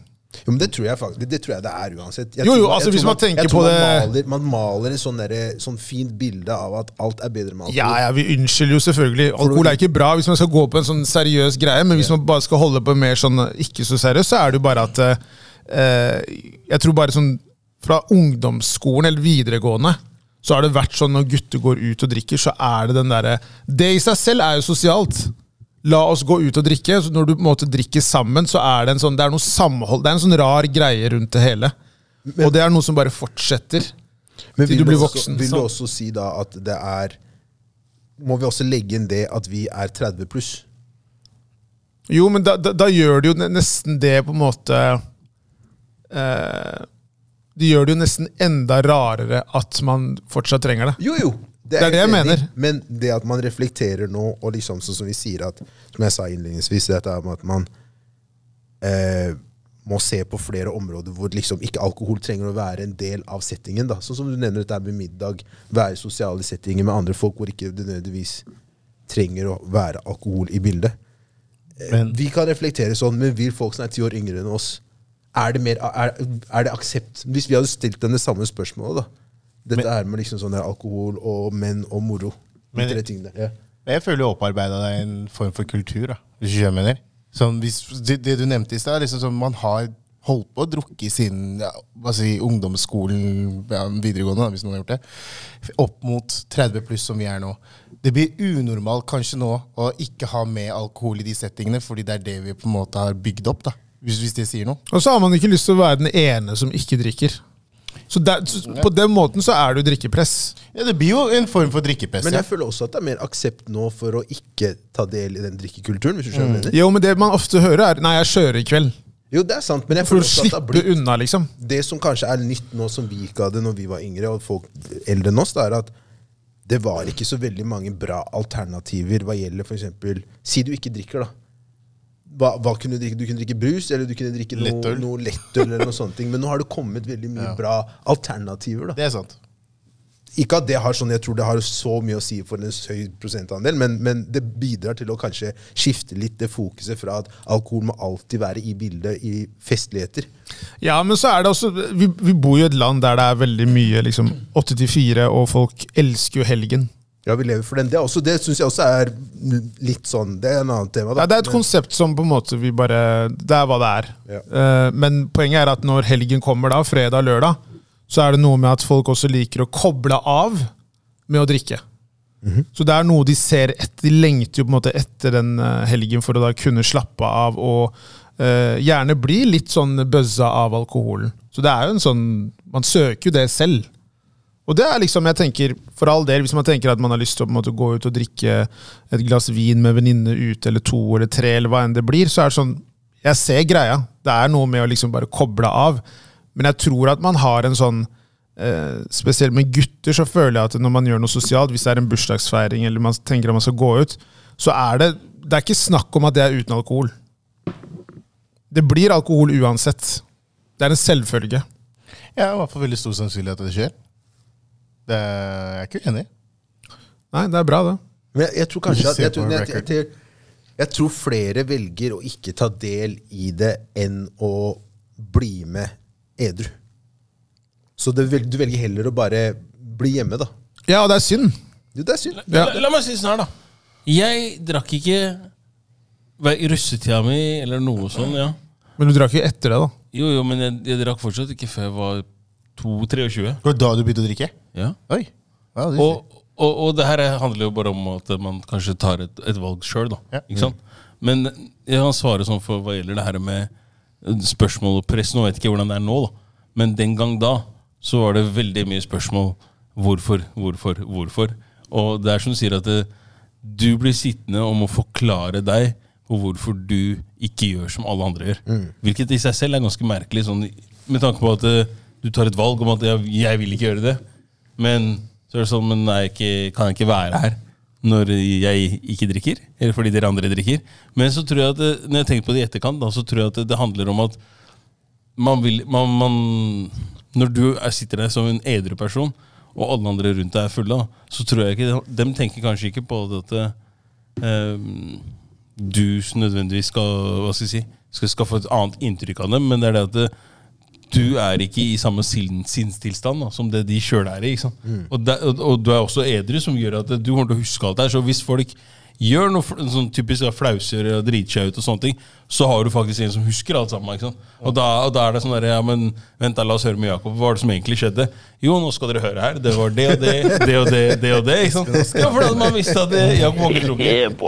B: Jo, men det tror jeg faktisk, det tror jeg det er uansett. Jeg
D: Jo,
B: tror-
D: jo,
B: jeg
D: altså,
B: tror
D: hvis man tenker
B: jeg tror
D: på
B: man maler,
D: det-
B: Man maler et sånn, derre- sånn fint bilde av at alt er bedre med alkohol.
D: Ja, ja, vi unnskylder jo selvfølgelig. Alkohol er ikke bra hvis man skal gå på en sånn seriøs greie, men hvis man bare skal holde på mer sånn ikke så seriøst, så er det jo bare at eh, Jeg tror bare sånn fra ungdomsskolen eller videregående så har det vært sånn når gutter går ut og drikker, så er det den derre Det i seg selv er jo sosialt. La oss gå ut og drikke. Så når du på en måte drikker sammen, så er det en sånn Det er noe samhold Det er en sånn rar greie rundt det hele. og det er noe som bare fortsetter.
B: Men vil
D: Til du blir
B: også-
D: voksen,
B: Vil du
D: så-
B: også si da at det er Må vi også legge inn det at vi er 30 pluss?
D: Jo, men da, da, da gjør de jo ne- nesten det på en måte eh, De gjør det jo nesten enda rarere at man fortsatt trenger det.
B: Jo, jo.
D: Det er det jeg
B: enig i,
D: mener.
B: Men det at man reflekterer nå, og liksom sånn som vi sier at Som jeg sa innledningsvis, dette er med at man eh, må se på flere områder hvor liksom ikke alkohol trenger å være en del av settingen. da. Sånn som du nevner dette her med middag, være i sosiale settinger med andre folk hvor ikke det nødvendigvis trenger å være alkohol i bildet. Eh,
E: Men-
B: vi kan reflektere sånn, men vil folk som er ti år yngre enn oss er det, mer, er, er det aksept? Hvis vi hadde stilt dem det samme spørsmålet, da Dette er med liksom sånn der alkohol og menn og moro. De
A: Men-
B: tre tingene. Ja.
A: Men jeg føler jo opparbeida deg en form for kultur, da, hvis du skjønner hva jeg mener. Sånn, hvis, det, det du nevnte i stad, er liksom sånn man har holdt på å drukke siden ja, hva skal jeg si, ungdomsskolen, ja, videregående, da, hvis noen har gjort det, opp mot 30 pluss som vi er nå. Det blir unormalt kanskje nå å ikke ha med alkohol i de settingene, fordi det er det vi på en måte har bygd opp, da. Hvis, hvis det sier noe.
D: Og så har man ikke lyst til å være den ene som ikke drikker. Så, der, så på den måten så er det jo drikkepress.
A: Ja, det blir jo en form for drikkepress.
B: Men
A: Ja.
B: jeg føler også at det er mer aksept nå for å ikke ta del i den drikkekulturen. hvis du skjønner hva jeg mener.
D: Jo, men det man ofte hører, er 'nei, jeg kjører i kveld'.
B: Jo, det er sant, men jeg
D: For å
B: føler også at det har
D: slippe
B: blitt
D: unna, liksom.
B: Det som kanskje er nytt nå, som vi ikke hadde når vi var yngre, og folk eldre enn oss, det er at det var ikke så veldig mange bra alternativer hva gjelder f.eks. Si du ikke drikker, da. Hva, hva kunne Du drikke? Du kunne drikke brus, eller du kunne drikke noe,
A: Lettøl.
B: noe lettøl, eller noe sånne ting. Men nå har det kommet veldig mye bra alternativer. da.
A: Det er sant.
B: Ikke at det har sånn, jeg tror det har så mye å si for en høy prosentandel, men, men det bidrar til å kanskje skifte litt det fokuset fra at alkohol må alltid være i bildet i festligheter.
D: Ja, men så er det også Vi, vi bor jo i et land der det er veldig mye liksom, åtte til fire, og folk elsker jo helgen.
B: Ja, vi lever for den. Det, er også- det syns jeg også er litt sånn Det er en annen tema, da.
D: Ja, det er et konsept som på en måte vi bare Det er hva det er.
B: Ja.
D: Eh, men poenget er at når helgen kommer, da, fredag, lørdag, så er det noe med at folk også liker å koble av med å drikke.
B: Mhm.
D: Så det er noe de ser etter. De lengter jo på en måte etter den eh, helgen for å da kunne slappe av og eh, gjerne bli litt sånn bøzza av alkoholen. Så det er jo en sånn Man søker jo det selv. Og det er liksom, jeg tenker, for all del, hvis man tenker at man har lyst til å på en måte, gå ut og drikke et glass vin med venninne ut, eller to eller tre, eller hva enn det blir, så er det sånn Jeg ser greia. Det er noe med å liksom bare koble av. Men jeg tror at man har en sånn eh, Spesielt med gutter så føler jeg at når man gjør noe sosialt, hvis det er en bursdagsfeiring eller man tenker at man skal gå ut, så er det Det er ikke snakk om at det er uten alkohol. Det blir alkohol uansett. Det er en selvfølge.
A: Ja, i hvert fall veldig stor sannsynlighet at det skjer. Det er, jeg er ikke uenig.
D: Nei, det er bra, det.
B: Men jeg, jeg tror kanskje at
A: Just
B: jeg
A: say
B: tror,
A: for
B: jeg, jeg,
A: record.
B: jeg, jeg tror flere velger å ikke ta del i det enn å bli med edru. Så det, vel- du velger heller å bare bli hjemme, da.
D: Ja, og det er synd.
B: Jo, det er synd.
D: Ja.
C: La, la meg si sånn her, da. Jeg drakk ikke hva, i russetida mi eller noe sånn, ja.
D: Men du drakk jo etter det, da.
C: Jo, jo, men jeg, jeg drakk fortsatt ikke før jeg var 2-23.
A: Det var da du begynte å drikke?
C: Ja.
A: Oi. Ja, det
C: Og, og, og det her handler jo bare om at man kanskje tar et, et valg sjøl, da.
A: Ja.
C: Ikke sant? Men jeg kan svare sånn for hva gjelder det her med spørsmål og press. Nå vet jeg ikke hvordan det er nå, da. Men den gang da så var det veldig mye spørsmål. Hvorfor, hvorfor, hvorfor? Og det er som du sier at det, du blir sittende og må forklare deg på hvorfor du ikke gjør som alle andre gjør. Hvilket i seg selv er ganske merkelig, sånn, med tanke på at eh, du tar et valg om at jeg, jeg vil ikke gjøre det. Men så er det sånn, men jeg ikke, kan jeg ikke være her når jeg ikke drikker? Eller fordi dere andre drikker? Men så tror jeg at, det- når jeg tenker på det i etterkant, da, så tror jeg at det, det handler om at man vil man, man, Når du er, sitter der som en edru person, og alle andre rundt deg er fulle, da, så tror jeg ikke De tenker kanskje ikke på det at eh, du nødvendigvis skal Hva skal jeg si skal skaffe et annet inntrykk av dem, men det er det at det, du er ikke i samme sin, sinnstilstand da, som det de sjøl er i. Ikke sant? Og, det- og, og du er også edru, som gjør at du kommer til å huske alt det her. Så hvis folk gjør noe fl- sånn typisk da, flauser og driter seg ut, og sånne ting, så har du faktisk en som husker alt sammen. Ikke sant? Og, da, og da er det sånn der, ja, men vent da, la oss høre med Jakob. Hva var det som egentlig skjedde? Jo, nå skal dere høre her. Det var det og det, det og det, det og det. Ikke sant? Ja, for da man visste at eh, Jakob var ikke drukket.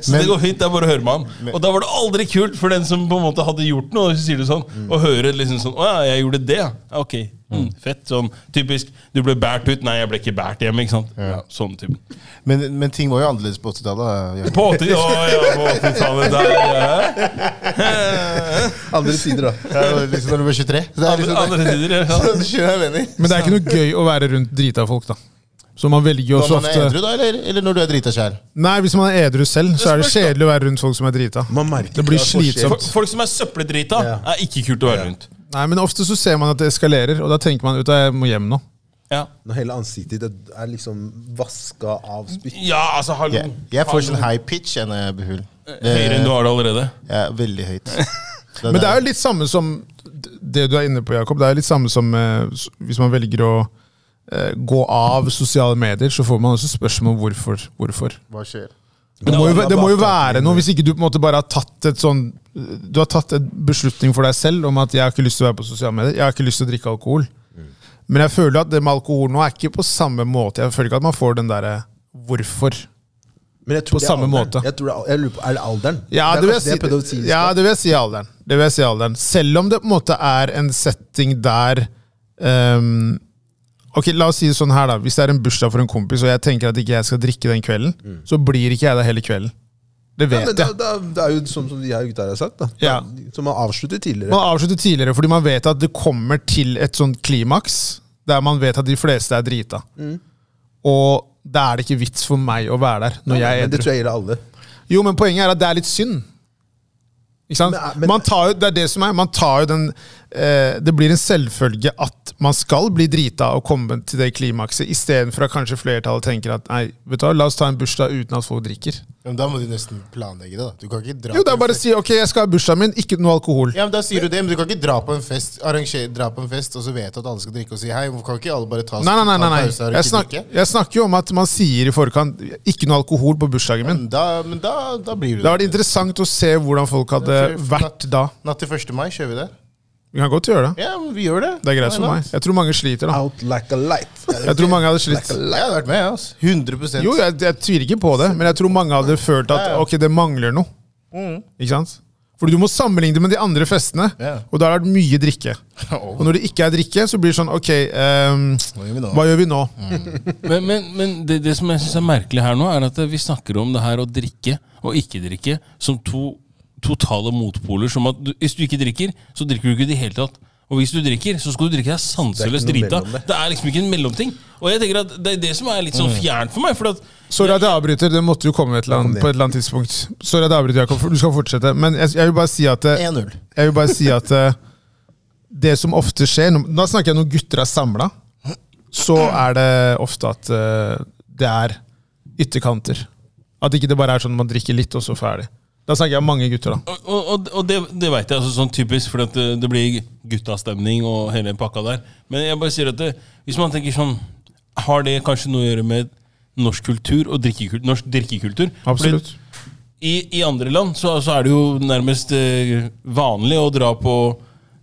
C: Så det går fint, det er bare å høre med han. Og da var det aldri kult for den som på en måte hadde gjort noe, så sier du sånn,
A: Mm.
C: og hører liksom sånn, å ja, jeg gjorde det, ja. Ja, ok, mm, fett, sånn, typisk, du ble bært ut, nei, jeg ble ikke bært hjemme, ikke sant? Ja, sånn type.
A: Men, men ting var jo annerledes på eh, 80-tallet. Ja.
C: På 80, å ja, på 80-tallet der, ja.
B: Andre sider, da.
A: Det er jo Liksom når du var 23. Så det er
C: Andre,
A: liksom,
C: andre tider, ja.
A: Så du skjønner hva jeg mener.
D: Men det er ikke noe gøy å være rundt drita folk, da. Så man velger jo
A: Når
D: også
A: man er edru,
D: ofte
A: da, eller, eller når du er drita sjæl?
D: Nei, hvis man er edru selv, så er
C: Det spørs,
D: det
C: da.
D: kjedelig å være rundt folk som er drita.
B: Man merker
D: Det blir
B: det er forskjell.
D: slitsomt.
C: Folk, folk som er søppeldrita,
B: Ja.
C: er ikke kult å være rundt.
D: Nei, men ofte så ser man at det eskalerer, og da tenker man ut jeg må hjem nå.
C: Ja,
B: Når hele ansiktet ditt er liksom vaska av spytt.
C: ja altså, hallo.
A: Jeg, jeg får sånn
C: Hallo.
A: high pitch jeg, når jeg blir full.
C: Høyere enn du har det allerede.
A: Ja, veldig høyt.
D: Men det er jo litt samme som det du er inne på, Jakob. Det er jo litt samme som eh, s- hvis man velger å eh, gå av sosiale medier, så får man også spørsmål om hvorfor. hvorfor.
A: Hva skjer?
D: Det må, jo,
B: Ja,
D: det må jo
B: bakgrunnen.
D: være noe, hvis ikke du på en måte bare har tatt et sånn Du har tatt en beslutning for deg selv om at 'jeg har ikke lyst til å være på sosiale medier', 'jeg har ikke lyst til å drikke alkohol'.
B: Mm.
D: Men jeg føler at det med alkohol nå er ikke på samme måte. Jeg føler ikke at man får den derre 'hvorfor'.
B: Men jeg tror
D: På
B: det er
D: samme
B: alderen.
D: måte.
B: Jeg tror det er, jeg lurer på, er det alderen? det
D: Ja, det
B: er
D: vil jeg
B: kanskje det jeg prøvde å si.
D: si,
B: i
D: ja,
B: stad.
D: det vil jeg si alderen. Det vil jeg si alderen. Selv om det på en måte er en setting der ehm, Ok, La oss si det sånn her, da. Hvis det er en bursdag for en kompis, og jeg tenker at ikke jeg skal drikke den kvelden, så blir ikke jeg der hele kvelden. Det
B: Mm. Ja,
D: vet
B: men da,
D: jeg.
B: da, det er jo sånn som de her gutta her har sagt, da.
D: Ja.
B: Da- Som man avslutter tidligere.
D: Man avslutter tidligere fordi man vet at det kommer til et sånt klimaks der man vet at de fleste er drita.
B: Mm.
D: Og da er det ikke vits for meg å være der når jeg er
B: men det
D: edru.
B: tror jeg gjelder alle.
D: Jo, men poenget er at det er litt synd. Ikke sant?
B: Men- men-
D: man tar jo, det er det som er. Man tar jo den eh, Det blir en selvfølge at man skal bli drita og komme til det klimakset, istedenfor at kanskje flertallet tenker at nei, vet du hva, la oss ta en bursdag uten at folk drikker.
A: Men da må du nesten planlegge det, da. Du kan ikke dra
D: Jo, det
A: på
D: er
A: en
D: bare å
A: fest.
D: si ok, jeg skal ha bursdagen min, ikke noe alkohol.
A: Ja, men Da sier du det, men du kan ikke dra på en fest Arrangere, dra på en fest og så vet du at alle skal drikke og si hei. Hvorfor kan ikke alle bare ta,
D: Nei, nei,
A: Altså, ta
D: nei. nei, nei.
A: pause her og
D: Jeg,
A: ikke
D: snak,
A: drikke?
D: jeg snakker jo om at man sier i forkant 'ikke noe alkohol på bursdagen min'.
A: Men da, men da, da blir du
D: Det hadde vært interessant å se hvordan folk hadde vært da.
A: Natt til 1. mai kjører vi det.
D: Vi kan godt gjøre det.
A: Ja, men vi gjør det.
D: Det er greit for meg. Jeg tror mange sliter, da.
B: Out like a light.
D: Jeg tror mange hadde slitt.
A: Jeg hadde vært med, jeg. Altså. 100
D: Jo, jeg, jeg tviler ikke på det, men jeg tror mange hadde følt at ok, det mangler noe. Ikke sant? Fordi du må sammenligne det med de andre festene,
A: Mm. Ja. Oh.
D: og da har det vært mye drikke. Og når det ikke er drikke, så blir det sånn ok, ehm,
A: Hva gjør vi nå?
D: hva gjør vi nå?
C: Men, men, men det, det som jeg syns er merkelig her nå, er at vi snakker om det her å drikke og ikke drikke som to totale motpoler. Som at du, hvis du ikke drikker, så drikker du ikke i det hele tatt. Og hvis du drikker, så skal du drikke deg sanseløst
B: Det er ikke noe mellom
C: drita.
B: det. Mm.
C: Det er liksom ikke en mellomting. Og jeg tenker at det er det som er litt sånn fjernt for meg. For at
D: Sorry at jeg avbryter, det måtte jo komme et eller annet,
B: det.
D: på et eller annet tidspunkt. Sorry at jeg avbryter, Jakob, for du skal fortsette. Men jeg, jeg vil bare si at eh,
A: 1-0.
D: Jeg vil bare si at eh, det som ofte skjer når- Da snakker jeg når gutter er samla, så er det ofte at eh, det er ytterkanter. At ikke det bare er sånn man drikker litt, og så ferdig. Da snakker jeg om mange gutter, da.
C: Og, og, og det, det veit jeg, altså, sånn typisk, for at det, det blir guttastemning og hele pakka der. Men jeg bare sier at det, hvis man tenker sånn Har det kanskje noe å gjøre med norsk kultur og drikkekultur, norsk drikkekultur?
D: Absolutt.
C: Fordi I, I andre land så, så er det jo nærmest eh, vanlig å dra på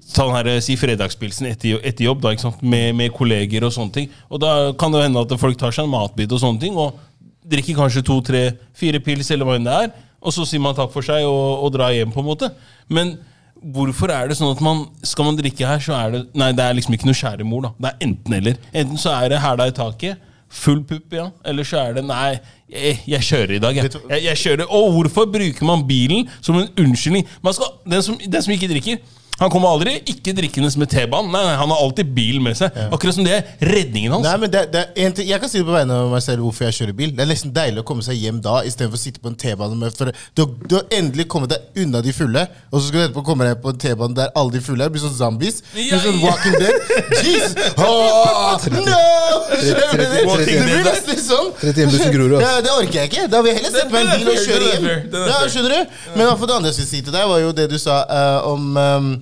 C: Ta den her, eh, si fredagspilsen etter, jo- etter jobb da, ikke sant? Med, med kolleger og sånne ting. Og da kan det jo hende at folk tar seg en matbit og sånne ting, og drikker kanskje to, tre, fire pils eller hva enn det er, og så sier man takk for seg og, og drar hjem, på en måte. Men hvorfor er det sånn at man, skal man drikke her, så er det Nei, det er liksom ikke noe skjæremor, da. Det er enten-eller. Enten så er det hæla i taket, full pupp, ja. Eller så er det Nei, jeg, jeg kjører i dag, jeg. jeg. Jeg kjører. Og hvorfor bruker man bilen som en unnskyldning? Man skal, den, som, den som ikke drikker han kommer aldri ikke drikkende med T-banen. Nei, nei, Han har alltid bil med seg. Akkurat som det er redningen hans.
A: Nei, men det, det er en ting, Jeg kan si det på vegne av meg selv hvorfor jeg kjører bil. Det er nesten deilig å komme seg hjem da istedenfor å sitte på en T-bane. med- For du, har- du har endelig kommet deg unna de fulle, og så skal du etterpå komme deg på en T-bane der alle de fulle er. Blir sånn zombies.
C: Ja,
A: blir sånn
C: ja.
A: walking dead. Jeez! Åh, no! Skjønner du? Det
B: Walking Dead,
A: blir
B: da.
A: nesten sånn.
B: 31 bussen Grorud, ass.
A: Ja, det orker jeg ikke. Da vil jeg heller sette meg i en bil og
C: Den- den er
A: kjøre
C: fair,
A: hjem.
C: den er fair, den er
A: Ja,
C: fair.
A: skjønner du? Men i hvert fall det andre jeg skulle si til deg, var jo det du sa eh, om, eh,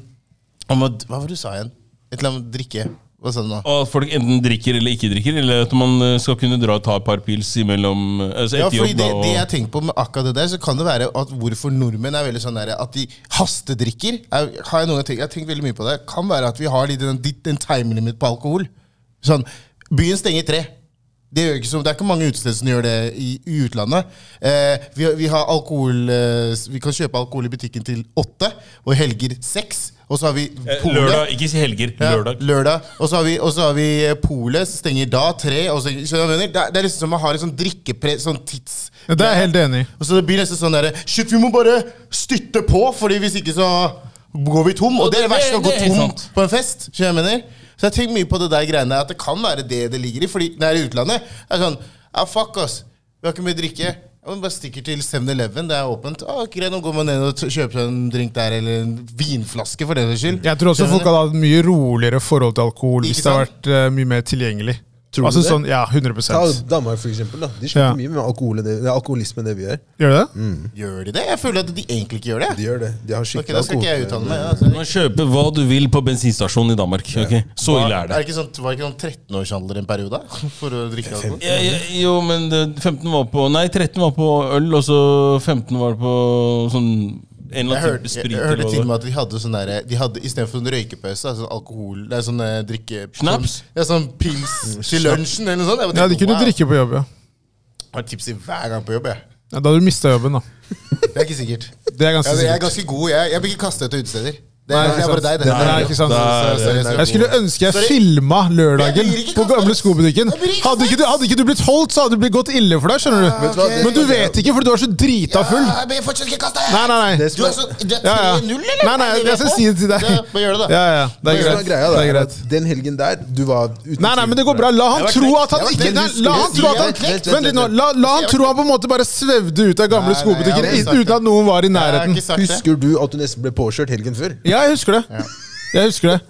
A: om at, Hva var det du sa igjen? Et eller annet drikke. Hva sa du nå?
C: Og at folk enten drikker eller ikke drikker, eller at man eh, skal kunne dra og ta et par pils imellom eh, altså
A: Ja,
C: etter
A: fordi
C: jobb.
A: det,
C: da, og...
A: det jeg tenker på med akkurat det der, så kan det være at hvorfor nordmenn er veldig sånn der, at de hastedrikker. Er, har jeg, noen gang tenkt, jeg har tenkt veldig mye på det. Kan være at vi har litt en, en time limit på alkohol. Sånn, Byen stenger tre. Det, gjør ikke så, det er ikke mange utesteder som gjør det i, i utlandet. Eh, vi, har- vi, har alkohol, eh, vi kan kjøpe alkohol i butikken til åtte, og helger seks. Og så har vi
C: Eh,
A: polet.
C: Lørdag, ikke si helger.
A: Ja,
C: Lørdag.
A: lørdag. Og så har vi, og så har vi eh, polet, som stenger da tre. Og så, skjønner du hva jeg mener? det, er- det er liksom som man har et sånn drikkepress, sånn tids...
D: Ja, Det er jeg helt enig i.
A: Og så det blir nesten sånn derre Shit, vi må bare styrte på, Fordi hvis ikke så går vi tom. Og,
C: Og
A: det, er
C: det-
A: det verste å
C: det-
A: gå
C: det er helt
A: tom
C: sant.
A: på en fest. skjønner du hva jeg mener? Så jeg tenker mye på det der greiene at det kan være det det ligger i. Fordi når jeg er i utlandet, det er sånn Ja, fuck, ass. Vi har ikke mye drikke. Ja, men bare stikker til 7-Eleven, det er åpent. Ah, greit, nå går man ned og t- kjøper seg en drink der, eller en vinflaske, for den saks skyld.
D: Jeg tror også
A: Skjønner du?
D: folk hadde hatt mye roligere forhold til alkohol hvis
A: Ikke
D: det hadde
A: sant?
D: vært eh, mye mer tilgjengelig.
B: Tror du
D: altså
B: det?
D: sånn, Ja, 100
B: Ta
D: Gjør
B: Danmark, for eksempel. Da. De sliter
D: Ja.
B: mye med alkohol, og det, det er alkoholisme, det vi gjør.
D: det det?
B: Mm.
A: Gjør de det? Jeg føler at de egentlig ikke gjør det.
B: De gjør det. De har
A: Ok,
B: skikkelig
A: Da skal ikke jeg uttale meg. ja, Altså.
C: Du kan kjøpe hva du vil på bensinstasjonen i Danmark. ok? Så ille er det.
A: ikke sånn, var det ikke sånn 13-årshandler en periode da, for å drikke alkohol?
C: Ja, ja, jo, men det- 15 var på Nei, 13 var på øl, og så 15 var på sånn en
A: Jeg
C: eller annen
A: hørte,
C: type
A: jeg,
C: sprit.
A: jeg hørte til og
C: eller
A: med
C: hva det var.
A: at de hadde sånn derre De hadde istedenfor sånn røykepause, altså alkohol Det er sånn eh, drikke...
C: Snaps?
A: Sånn, ja, sånn pils til lunsjen eller noe sånt. Jeg bare
D: Ja, de
A: tenkte,
D: kunne
A: wow,
D: drikke på jobb, ja.
A: Jeg har tips i hver gang på jobb, jeg.
D: ja da hadde du mista jobben, da.
A: Det er ikke sikkert.
D: Det er ganske
A: Jeg, jeg er
D: sikkert.
A: ganske god. Jeg, jeg blir ikke kastet ut utesteder. Det er, det er bare deg, det.
D: Nei, ikke sant.
C: Der,
A: Sorry, sorry, sorry.
D: Jeg skulle ønske jeg
A: Sorry.
D: filma
A: Jeg
D: lørdagen
A: blir ikke
D: på
A: kastet.
D: gamle skobutikken.
A: Jeg blir ikke
D: Hadde ikke, du, hadde ikke du blitt holdt, så hadde det blitt gått ille for deg. skjønner
B: Vet du hva,
D: du?
B: det-
D: Men du vet ikke, fordi du er så drita full.
A: Ja, men jeg fortsatt ikke kasta,
D: Nei, nei, nei.
B: Det
A: Du
B: som
A: er
B: er,
A: så Du er
D: Ja, ja.
A: 3-0, eller?
D: Nei, nei,
A: Er det
D: jeg skal
A: på?
D: si det til deg.
A: Ja, bare gjør det, da.
D: Ja, ja, det
B: det
D: er
B: som er
D: greit.
B: greia, da,
D: Det er
B: er
D: greit.
B: at den helgen der, du var uten
D: Nei, nei, men det går bra. La han
C: Jeg var
D: tro
C: knekt.
D: at
B: Jeg
D: han
B: var
D: ikke
B: knekt.
D: Nei, la
B: Jeg
D: han tro at
A: var
D: han
A: knekt. Vent,
D: Vent litt nå.
B: vent,
D: La, la han
A: Jeg var
D: tro han på en måte bare svevde ut av
B: Nei,
D: gamle
B: nei, jeg
D: skobutikker
B: har
A: ikke sagt
D: uten at noen var i
A: Jeg har
D: nærheten.
A: ikke sagt det.
B: Husker du at du nesten ble påkjørt helgen før?
D: Ja, jeg husker det. Jeg husker det.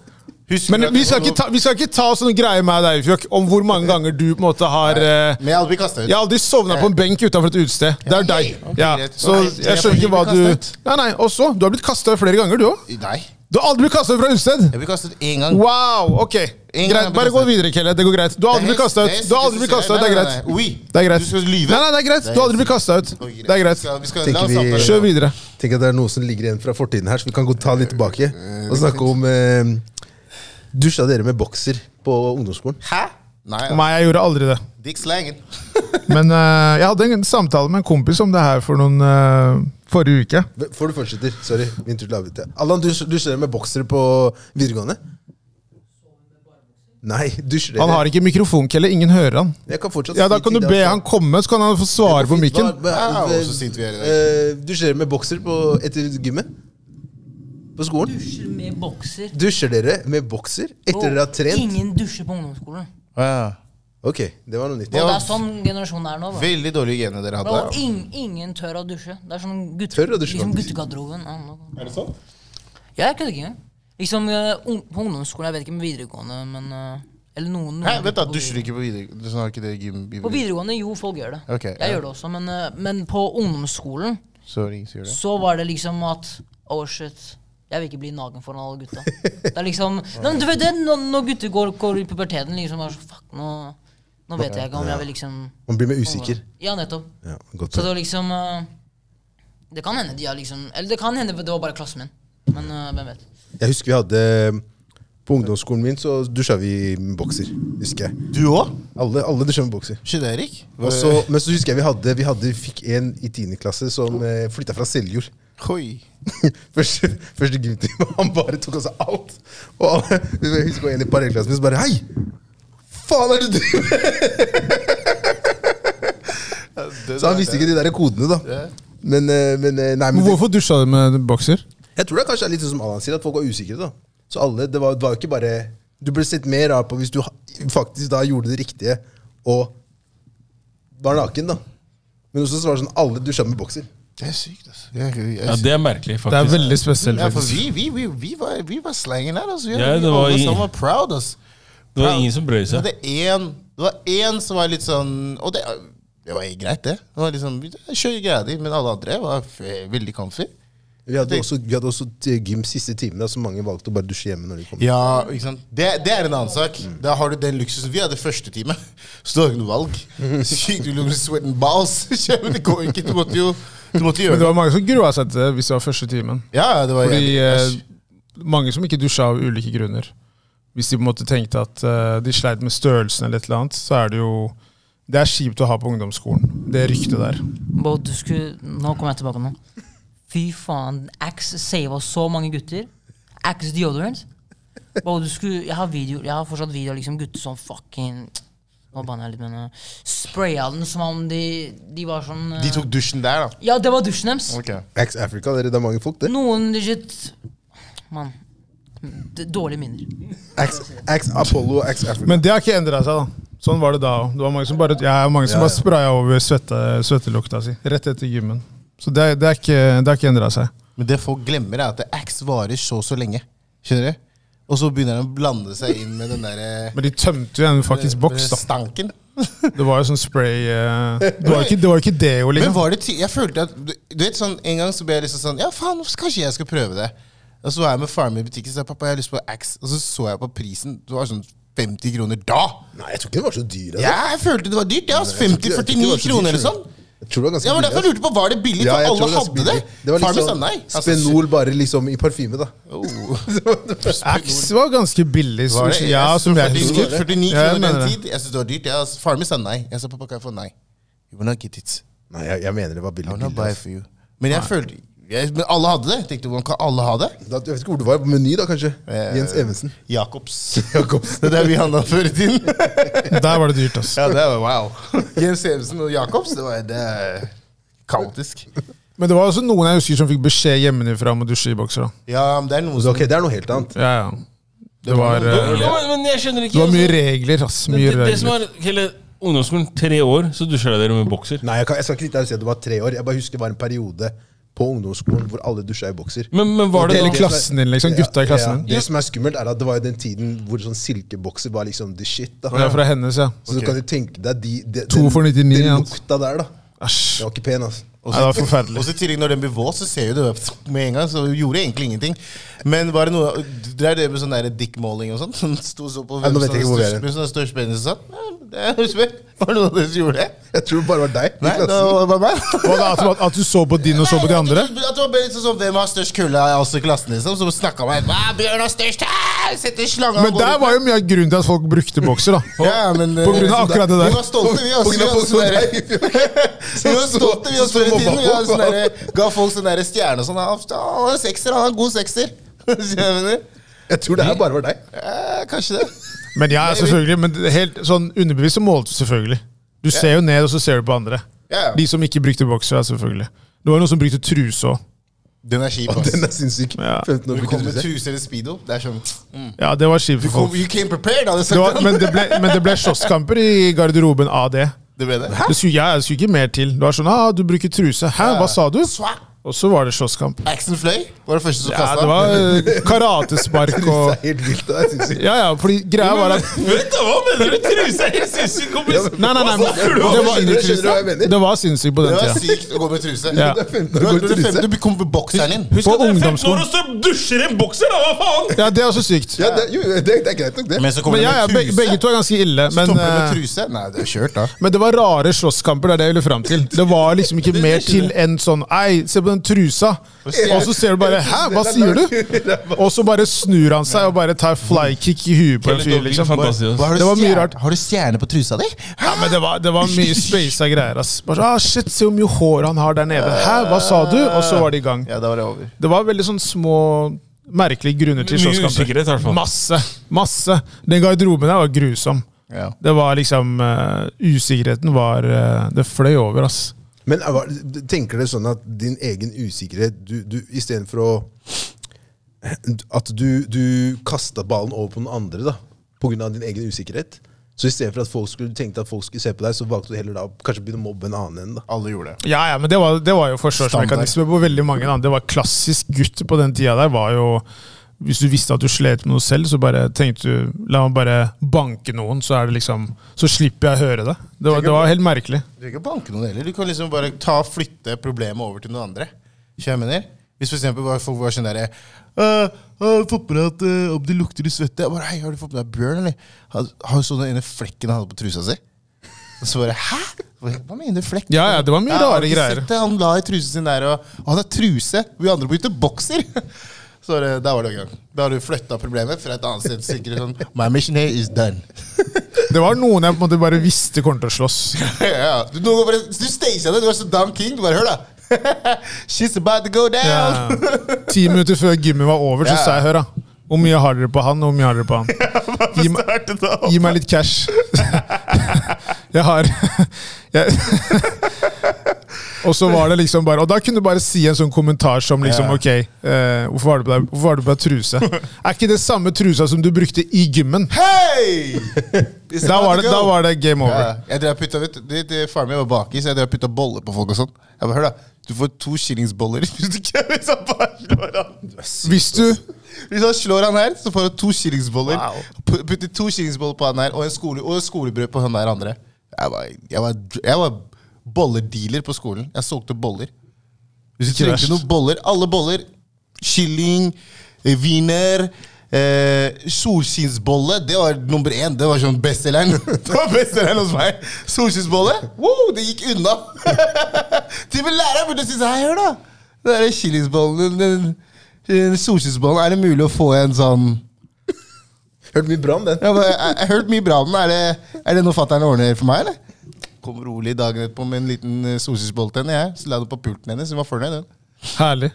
A: Husker
D: Men
A: at-
D: vi skal ikke ta, vi skal ikke ta sånne greier med deg, Fjokk, om hvor mange ganger du på en måte har eh,
A: Men jeg hadde blitt kasta ut.
D: Jeg har aldri sovna på en benk utenfor et utested. Det er deg.
A: Ok,
D: Ja,
A: greit.
D: så
A: Nei,
D: jeg skjønner ikke hva du
A: jeg blir kastet.
D: Nei, nei, også, Du har blitt kasta flere ganger, du òg.
A: Nei.
D: Du har aldri blitt kasta fra utested.
A: Jeg ble kastet én gang.
D: Wow, ok.
A: En gang har jeg
D: Greit,
A: blitt
D: Bare gå
A: kastet.
D: videre, Kelle. Det går greit. Du har aldri blitt kasta ut. Du har aldri blitt kastet ut, Det er greit.
A: Oui.
D: Det er greit.
A: Du skal lyve.
D: Nei, nei, det er greit. Du har aldri blitt kasta ut.
A: Ok,
D: Det er greit.
A: Vi skal, vi skal,
B: Tenker
A: la oss
B: vi-
A: avtale det.
D: Kjør videre.
B: Tenk at det er noe som ligger igjen fra fortiden her, så vi kan gå ta litt tilbake og snakke om eh, Dusja dere med bokser på ungdomsskolen?
A: Hæ? Nei,
D: Nei, jeg gjorde aldri det.
A: dick slangen.
D: Men eh, jeg hadde en samtale med en kompis om det her for noen eh, forrige uke.
B: Før du fortsetter. Sorry. min tur til å avbryte. Allan, dusj- dusjer dere med boksere på videregående? Nei, dusjer dere
D: Han har ikke mikrofonkelle. Ingen hører han.
B: Jeg kan fortsatt
D: Ja, Da
B: si
D: kan du
B: ting,
D: be
B: altså.
D: han komme, så kan han få svare på mikken.
B: Hva- hva-
A: Au, så sint vi er i dag.
B: eh, Dusjer dere med bokser på, etter gymmet? På skolen?
E: Dusjer med bokser.
B: Dusjer dere med bokser etter dere har trent?
E: Ingen dusjer på ungdomsskolen.
B: Ok, det var noe nytt.
E: Og
A: Ja.
E: det er sånn generasjonen er nå. Bro.
A: Veldig dårlig hygiene dere
E: Bro,
A: hadde.
E: ing, ingen tør å dusje. Det er sånn gutt,
B: Tør å dusje,
E: liksom
B: faktisk.
E: guttegarderoben. Ja, nå-
C: Er det sant?
E: Ja, jeg kødder ikke. engang. Liksom eh, ung, På ungdomsskolen, jeg vet ikke med videregående, men eh, Eller noen, noen
A: Hæ, vent da, Dusjer du ikke på videregående? Sånn har ikke dere gym i
E: På videregående, jo, folk gjør det.
A: Ok,
E: jeg
A: ja.
E: gjør det også, men, eh, men på ungdomsskolen
A: Så ingen sier det.
E: så var det liksom at Oh shit. Jeg vil ikke bli naken foran alle gutta. Det er liksom Nei, men Du vet det, når, når gutter går, går i puberteten, liksom er det sånn, Fuck, nå, nå vet jeg ikke om jeg vil liksom
B: Man blir mer usikker.
E: Ja, nettopp.
B: Ja, godt.
E: Så det var liksom eh, Det kan hende de har liksom Eller det kan hende det var bare klassen min. Men eh, hvem vet.
B: Jeg husker vi hadde eh, På ungdomsskolen min så dusja vi med bokser. Husker jeg.
A: Du òg?
B: Alle, alle dusja med bokser.
A: Skjedde, Erik?
B: Og så, men så husker jeg vi hadde Vi hadde, vi fikk en i 10. klasse som eh, flytta fra Seljord.
A: Oi.
B: første, første gymtime. Han bare tok av seg alt. Og alle, jeg husker en i parallellklassen min som bare Hei! Faen er det du driver med?! Så han visste ikke de der kodene, da. Men, eh, men eh, nei,
D: Men
B: men det,
D: hvorfor dusja du med bokser?
B: jeg tror det kanskje er litt sånn som Alan sier, at folk var usikre. da. Så alle, det var, det var jo ikke bare Du ble sett mer av på hvis du ha- faktisk da gjorde det riktige og var naken, da. Men også så var det sånn alle dusja med bokser.
A: Det er sykt, altså. Jeg, jeg,
C: Ja, det er merkelig,
D: Det er
C: faktisk.
D: veldig spesielt.
A: ja, for
D: faktisk.
A: vi, vi, vi, vi, var, vi var slangen her, altså. Vi,
C: Ja,
A: vi
C: det var
A: alle
C: i-
A: sammen var proud, altså.
C: Det var ingen som brød
A: Så
C: seg.
A: det, en, det var én som var litt sånn Og det, det var greit, det. Det var liksom, Kjør greia di. Men alle andre var f veldig comfy.
B: Vi hadde også, vi hadde også t- gym siste timen, da, så mange valgte å bare dusje hjemme. når de kom.
A: Ja, ikke sant? Det, det er en annen sak. Da har du den luksusen. Vi hadde første time, så du har ikke noe valg. Sykt, du lukter sweat and balls. Men det går ikke. Du måtte jo du måtte
D: Men
A: gjøre
D: det
A: det.
D: var mange som grua seg til det hvis det var første timen.
A: Ja, det var
D: Fordi eh,
A: jævlig.
D: mange som ikke dusja av ulike grunner. Hvis de på en måte tenkte at eh, de sleit med størrelsen eller et eller annet, så er det jo Det er kjipt å ha på ungdomsskolen. Det ryktet der.
E: Bro, du skulle Nå kommer jeg tilbake nå. Fy faen. Axe sava så mange gutter. Axe deodorant. Bro, du skulle Jeg har video Jeg har fortsatt video av liksom gutter som fucking Nå banner jeg litt, men eh, Spraya den som om de De var sånn eh,
A: De tok dusjen der, da.
E: Ja, det var dusjen deres.
A: Ok.
B: Ax Africa, dere, det er mange folk, det.
E: Noen legit Mann. d- Dårlige minner.
B: Ax, Ax Apollo og Ax Africa.
D: Men det har ikke endra seg, da. Sånn var det da òg. Det var mange som bare, ja, mange som
B: Ja, ja.
D: bare spraya over svette, svettelukta si rett etter gymmen. Så det, det er ikke, det har ikke endra seg.
A: Men det folk glemmer, er at Axe varer så så lenge. Skjønner du? Og så begynner den å blande seg inn med den der
D: Men de tømte jo en
A: eh,
D: faktisk boks, da.
A: stanken.
D: Det var jo sånn spray eh, Det var ikke, det var ikke deo,
A: Men
D: liksom.
A: var det ty Jeg følte at du, du vet sånn, En gang så ble jeg liksom sånn Ja, faen, kanskje jeg skal prøve det. Og så var jeg med faren min i butikken og sa pappa, jeg har lyst på Axe. Og så så jeg på prisen. Det var sånn 50 kroner da.
B: Nei, jeg tror ikke det var så dyr. Altså.
A: Ja, jeg følte det var dyrt. Ja, altså,
B: Jeg tror ikke- jeg tror ikke det
A: 50-49
B: var så dyr,
A: kroner eller
B: skjønner
A: sånn.
B: du. Jeg tror det var ganske
A: Ja, men Derfor
B: billig,
A: lurte jeg på var det billig,
B: altså.
A: for
B: jeg tror
A: alle
B: var ganske
A: hadde det.
B: billig. Det var
A: Faren min sa
B: liksom
A: nei. Altså, Oh.
B: Spenol bare liksom i parfyme, da.
D: Axe var ganske billig.
A: Var
D: Som,
A: det?
D: ja,
A: Jeg
D: som
A: synes
D: jeg
A: 49
D: husker.
A: kroner- 49
D: Ja, jeg
A: kroner
D: mener
A: den
D: det.
A: tid. Jeg synes det var dyrt. Jeg, altså, faren min sa nei. Jeg sa pappa, kan jeg få nei? You will not get it.
B: Nei, jeg, jeg mener det var
A: I
B: billig.
A: will not buy
B: billig altså.
A: for you. Men jeg følte Jeg, men alle hadde det. Jeg tenkte, hvordan kan alle ha det?
B: Da, jeg vet ikke hvor det var, på Meny da, kanskje?
A: Eh,
B: Jens Evensen.
A: Jacobs.
B: Jacobsen.
A: Det er der vi handla før i tiden.
D: Der var det dyrt, ass.
A: Ja, det var wow. Jens Evensen og Jacobs, det var det er kaotisk.
D: Men det var også noen jeg husker som fikk beskjed hjemmefra om å dusje i bokser. da.
A: Ja, men det er noe
B: Så,
A: som
B: ok, det er noe helt annet.
D: Ja, ja. Det var,
C: Jo,
D: eh,
C: jo, men- men jeg skjønner ikke
D: det var mye
C: altså,
D: regler, ass.
C: det,
D: Mye
C: det, det som
D: regler.
C: er hele ungdomsskolen, tre år, så dusjer dere med bokser.
B: Nei, jeg, kan, jeg skal ikke sitte her og si at det var tre år. Jeg bare husker det var en periode på ungdomsskolen hvor alle dusja i bokser.
C: Men, men var det
D: Hele
C: da
D: klassen din, liksom. Gutta i klassen din.
B: Det som er skummelt, er at det var jo den tiden hvor sånn silkebokser var liksom the shit. da.
D: Det er fra hennes, ja.
B: Så du kan jo tenke deg de, de,
D: To for 99,
B: den
D: ja.
B: lukta der, da.
D: Æsj.
B: Det var ikke pen, altså.
D: Nei, det var forferdelig.
A: Og så i tillegg når den blir våt, så ser jo du det med en gang. Så vi gjorde egentlig ingenting. Men var det noe Det er det med sånn der dickmåling og sånn. Som sto så på
B: Ja, nå vet jeg ikke hvor vi er
A: størst- hvem som har størst penis og sånn. Ja, Det husker jeg. Var det noen av dere som gjorde det?
B: Jeg tror det bare var deg. i
A: Nei, det
B: klassen.
A: var bare meg.
D: Hva da, at, at du så på din og så på de andre?
A: At det var bare litt sånn, Hvem har størst kulle av oss i klassen, liksom? Som snakka meg Hva, Bjørn har størst! Ah, Setter slanga
D: Men der var jo mye av grunnen til at folk brukte bokser, da.
A: ja, men, eh,
D: På grunn av akkurat det
A: Vi
D: der.
A: var stolte, vi. Altså,
B: På
A: vi
B: grunn av
A: var
B: folk som
A: sånn der-
B: deg, Bjørn.
A: Vi var stolte, vi var
B: Som
A: større
B: mobba
A: tiden. Vi hadde
B: folk,
A: sånn
B: da.
A: derre- ga folk sånn derre stjerne og sånn. «Ah, Han er sekser, han er en god sekser. Skjønner du hva jeg mener?
B: Jeg tror det her bare var deg.
A: Eh, kanskje det.
D: Men ja, selvfølgelig. Men helt sånn underbevisst så målte du selvfølgelig. Du ser jo ned, og så ser du på andre.
A: Ja, ja.
D: De som ikke brukte bokser, ja, selvfølgelig. Det var jo noen som brukte truse òg.
A: Den er kjip, ass.
B: Den er sinnssyk.
D: Ja.
B: 15 år
A: Du
B: fikk
A: kom
B: du
A: med
B: se.
A: truse eller speedo. Det er sånn mm.
D: Ja, det var kjipt
A: du
D: for
A: kom,
D: folk.
A: You came prepared, hadde jeg
D: Det var,
A: sagt.
D: men det ble, men det ble slåsskamper i garderoben av det.
A: Det ble det.
D: Det skulle, ja, det skulle ikke mer til. Det var sånn ah, 'Du bruker truse.' Hæ, hva sa du?
A: Swat.
D: Og så var det slåsskamp.
A: Axel fløy var det første som
D: Ja,
A: kasta.
D: det var eh, karatespark
B: Det er
D: og
B: helt vilt. Det er sinnssykt.
D: Ja, ja, fordi greia var at
C: Vent da, Hva mener du? Truse er helt sinnssyk, kompis!
D: Nei, nei, nei. men
B: Skjønner du
D: Det var,
B: skjønner du hva jeg mener?
D: det var sinnssykt på
A: det
D: den
A: var
D: tida.
A: sykt å gå med truse.
D: Ja.
B: Du er 15
A: Du,
B: år,
A: er- du,
B: går i
A: er fem,
B: truse.
A: du kom med bokseren din.
C: Husk
D: På
C: at dere er 15 år
D: ungdomsskolen.
C: og så dusjer i en bokser, da! Hva faen?
D: Ja, det er også sykt.
B: Ja, det, jo, det, det er greit nok, det.
A: Men så
D: Men
A: kommer
D: ja, ja,
A: du med
D: be-
A: truse.
D: begge to er ganske ille.
A: Så
D: Men,
A: kommer du med
D: eh,
A: truse. Nei, det er kjørt, da.
D: men det var rare slåsskamper. Det er det jeg ville fram til. Det var liksom ikke mer til enn sånn Ei, se på den trusa! Og så ser du bare Hæ, hva sier du? Og så bare snur han seg og bare tar flykick i huet på en fyr, liksom.
C: Fantasi, ass.
A: har,
D: Det var mye
A: stjerne-
D: rart.
A: har du stjerne på trusa di?
D: Ja, men det var, det var mye spasa greier, ass. Bare så, ah, shit, se hvor mye hår han har der nede. Hæ, hva sa du? Og så var det i gang.
A: Ja, da var det over.
D: Det var veldig sånn små merkelige grunner til
C: Mye
D: slåsskamper.
C: usikkerhet, i hvert fall.
D: Masse. Masse. Den garderoben der var grusom.
A: Ja.
D: Det var liksom eh, Usikkerheten var eh, Det fløy over, ass.
B: Men er- hva- tenker dere sånn at din egen usikkerhet du, du, Istedenfor å At du, du kasta ballen over på den andre da pga. din egen usikkerhet. Så istedenfor at folk skulle tenkte at folk skulle se på deg, så valgte du heller da å kanskje begynne å mobbe en annen enn da.
A: Alle gjorde det.
D: Ja, ja, men det var, det var jo forsvarsmekanisme på veldig mange. Da. Det var klassisk gutt på den tida der. var jo Hvis du visste at du slet med noe selv, så bare tenkte du La meg bare banke noen, så er det liksom Så slipper jeg å høre det. Det var, det var helt merkelig.
A: Du trenger ikke banke noen heller. Du kan liksom bare ta og flytte problemet over til noen andre. Skjønner du hva jeg mener? Hvis for eksempel bare folk var sånn derre «Øh, har du fått med deg at øh, om det lukter i svette? Jeg bare, Hei, har du fått med deg bjørn, eller? Har, har du så den ene flekken han hadde på trusa si? Og så bare Hæ? Hva mener du flekk?
D: Ja, ja, det var mye
A: Jeg har
D: rare
A: ikke
D: greier.
A: sett det. Han la i trusen sin der, og, og han har truse! Vi andre brukte bokser! Så det, der var det gang. Da har du flytta problemet fra et annet sted. Sikkert sånn My mission here is done.
D: Det var noen jeg på en måte bare visste kom til å slåss.
A: ja. Du, noen ganger bare, du staged det, du var så Dam King. Du bare hør, da. She's about to go
D: Ja.
A: down!
D: Ti minutter før gymmet var over, så
A: Ja.
D: sa jeg hør da. Hvor mye har dere på han, og hvor mye har dere på han? Gi, meg- gi meg litt cash. Jeg har jeg, Og så var det liksom bare Og da kunne du bare si en sånn kommentar som liksom Ok, eh, hvorfor har du på deg Hvorfor har du på deg truse? Er ikke det samme trusa som du brukte i gymmen?
A: Hey! It's
D: Da
A: about to
D: var det,
A: go.
D: da var det
A: Ja,
D: game over.
A: jeg drev og putta, vet, du, det, det, Faren min var bakis, jeg drev og putta boller på folk og sånn. Jeg bare, hør da, Du får to shillingsboller hvis du ikke hvis han bare slår han.
D: Hvis du
A: Hvis han slår han her, så får han to shillingsboller.
D: Wow.
A: Pu- Putter to shillingsboller på han her og en skole, og et skolebrød på han der andre. Jeg var, jeg var, jeg var bolledealer på skolen. Jeg solgte boller. Hvis du
D: Ikke
A: trengte
D: verst.
A: noen boller, alle boller. Kylling, eh, wiener, eh, solskinnsbolle. Det var nummer én. Det var sånn bestselgeren. Det var bestselgeren hos meg. Solskinnsbolle. Wow, det gikk unna. Til og med læreren burde synes Hei, hør, da. Den derre chiliesbollen, den, den solskinnsbollen, er det mulig å få en sånn
B: Hørt mye bra om den.
A: Jeg har bare- jeg- jeg har hørt mye bra om den. Er det, er det noe fatter'n ordner for meg, eller? Kom rolig dagen etterpå med en liten eh, solskinnsbolle til henne, jeg. Så la jeg det på pulten hennes. Hun var fornøyd, hun.
D: Herlig.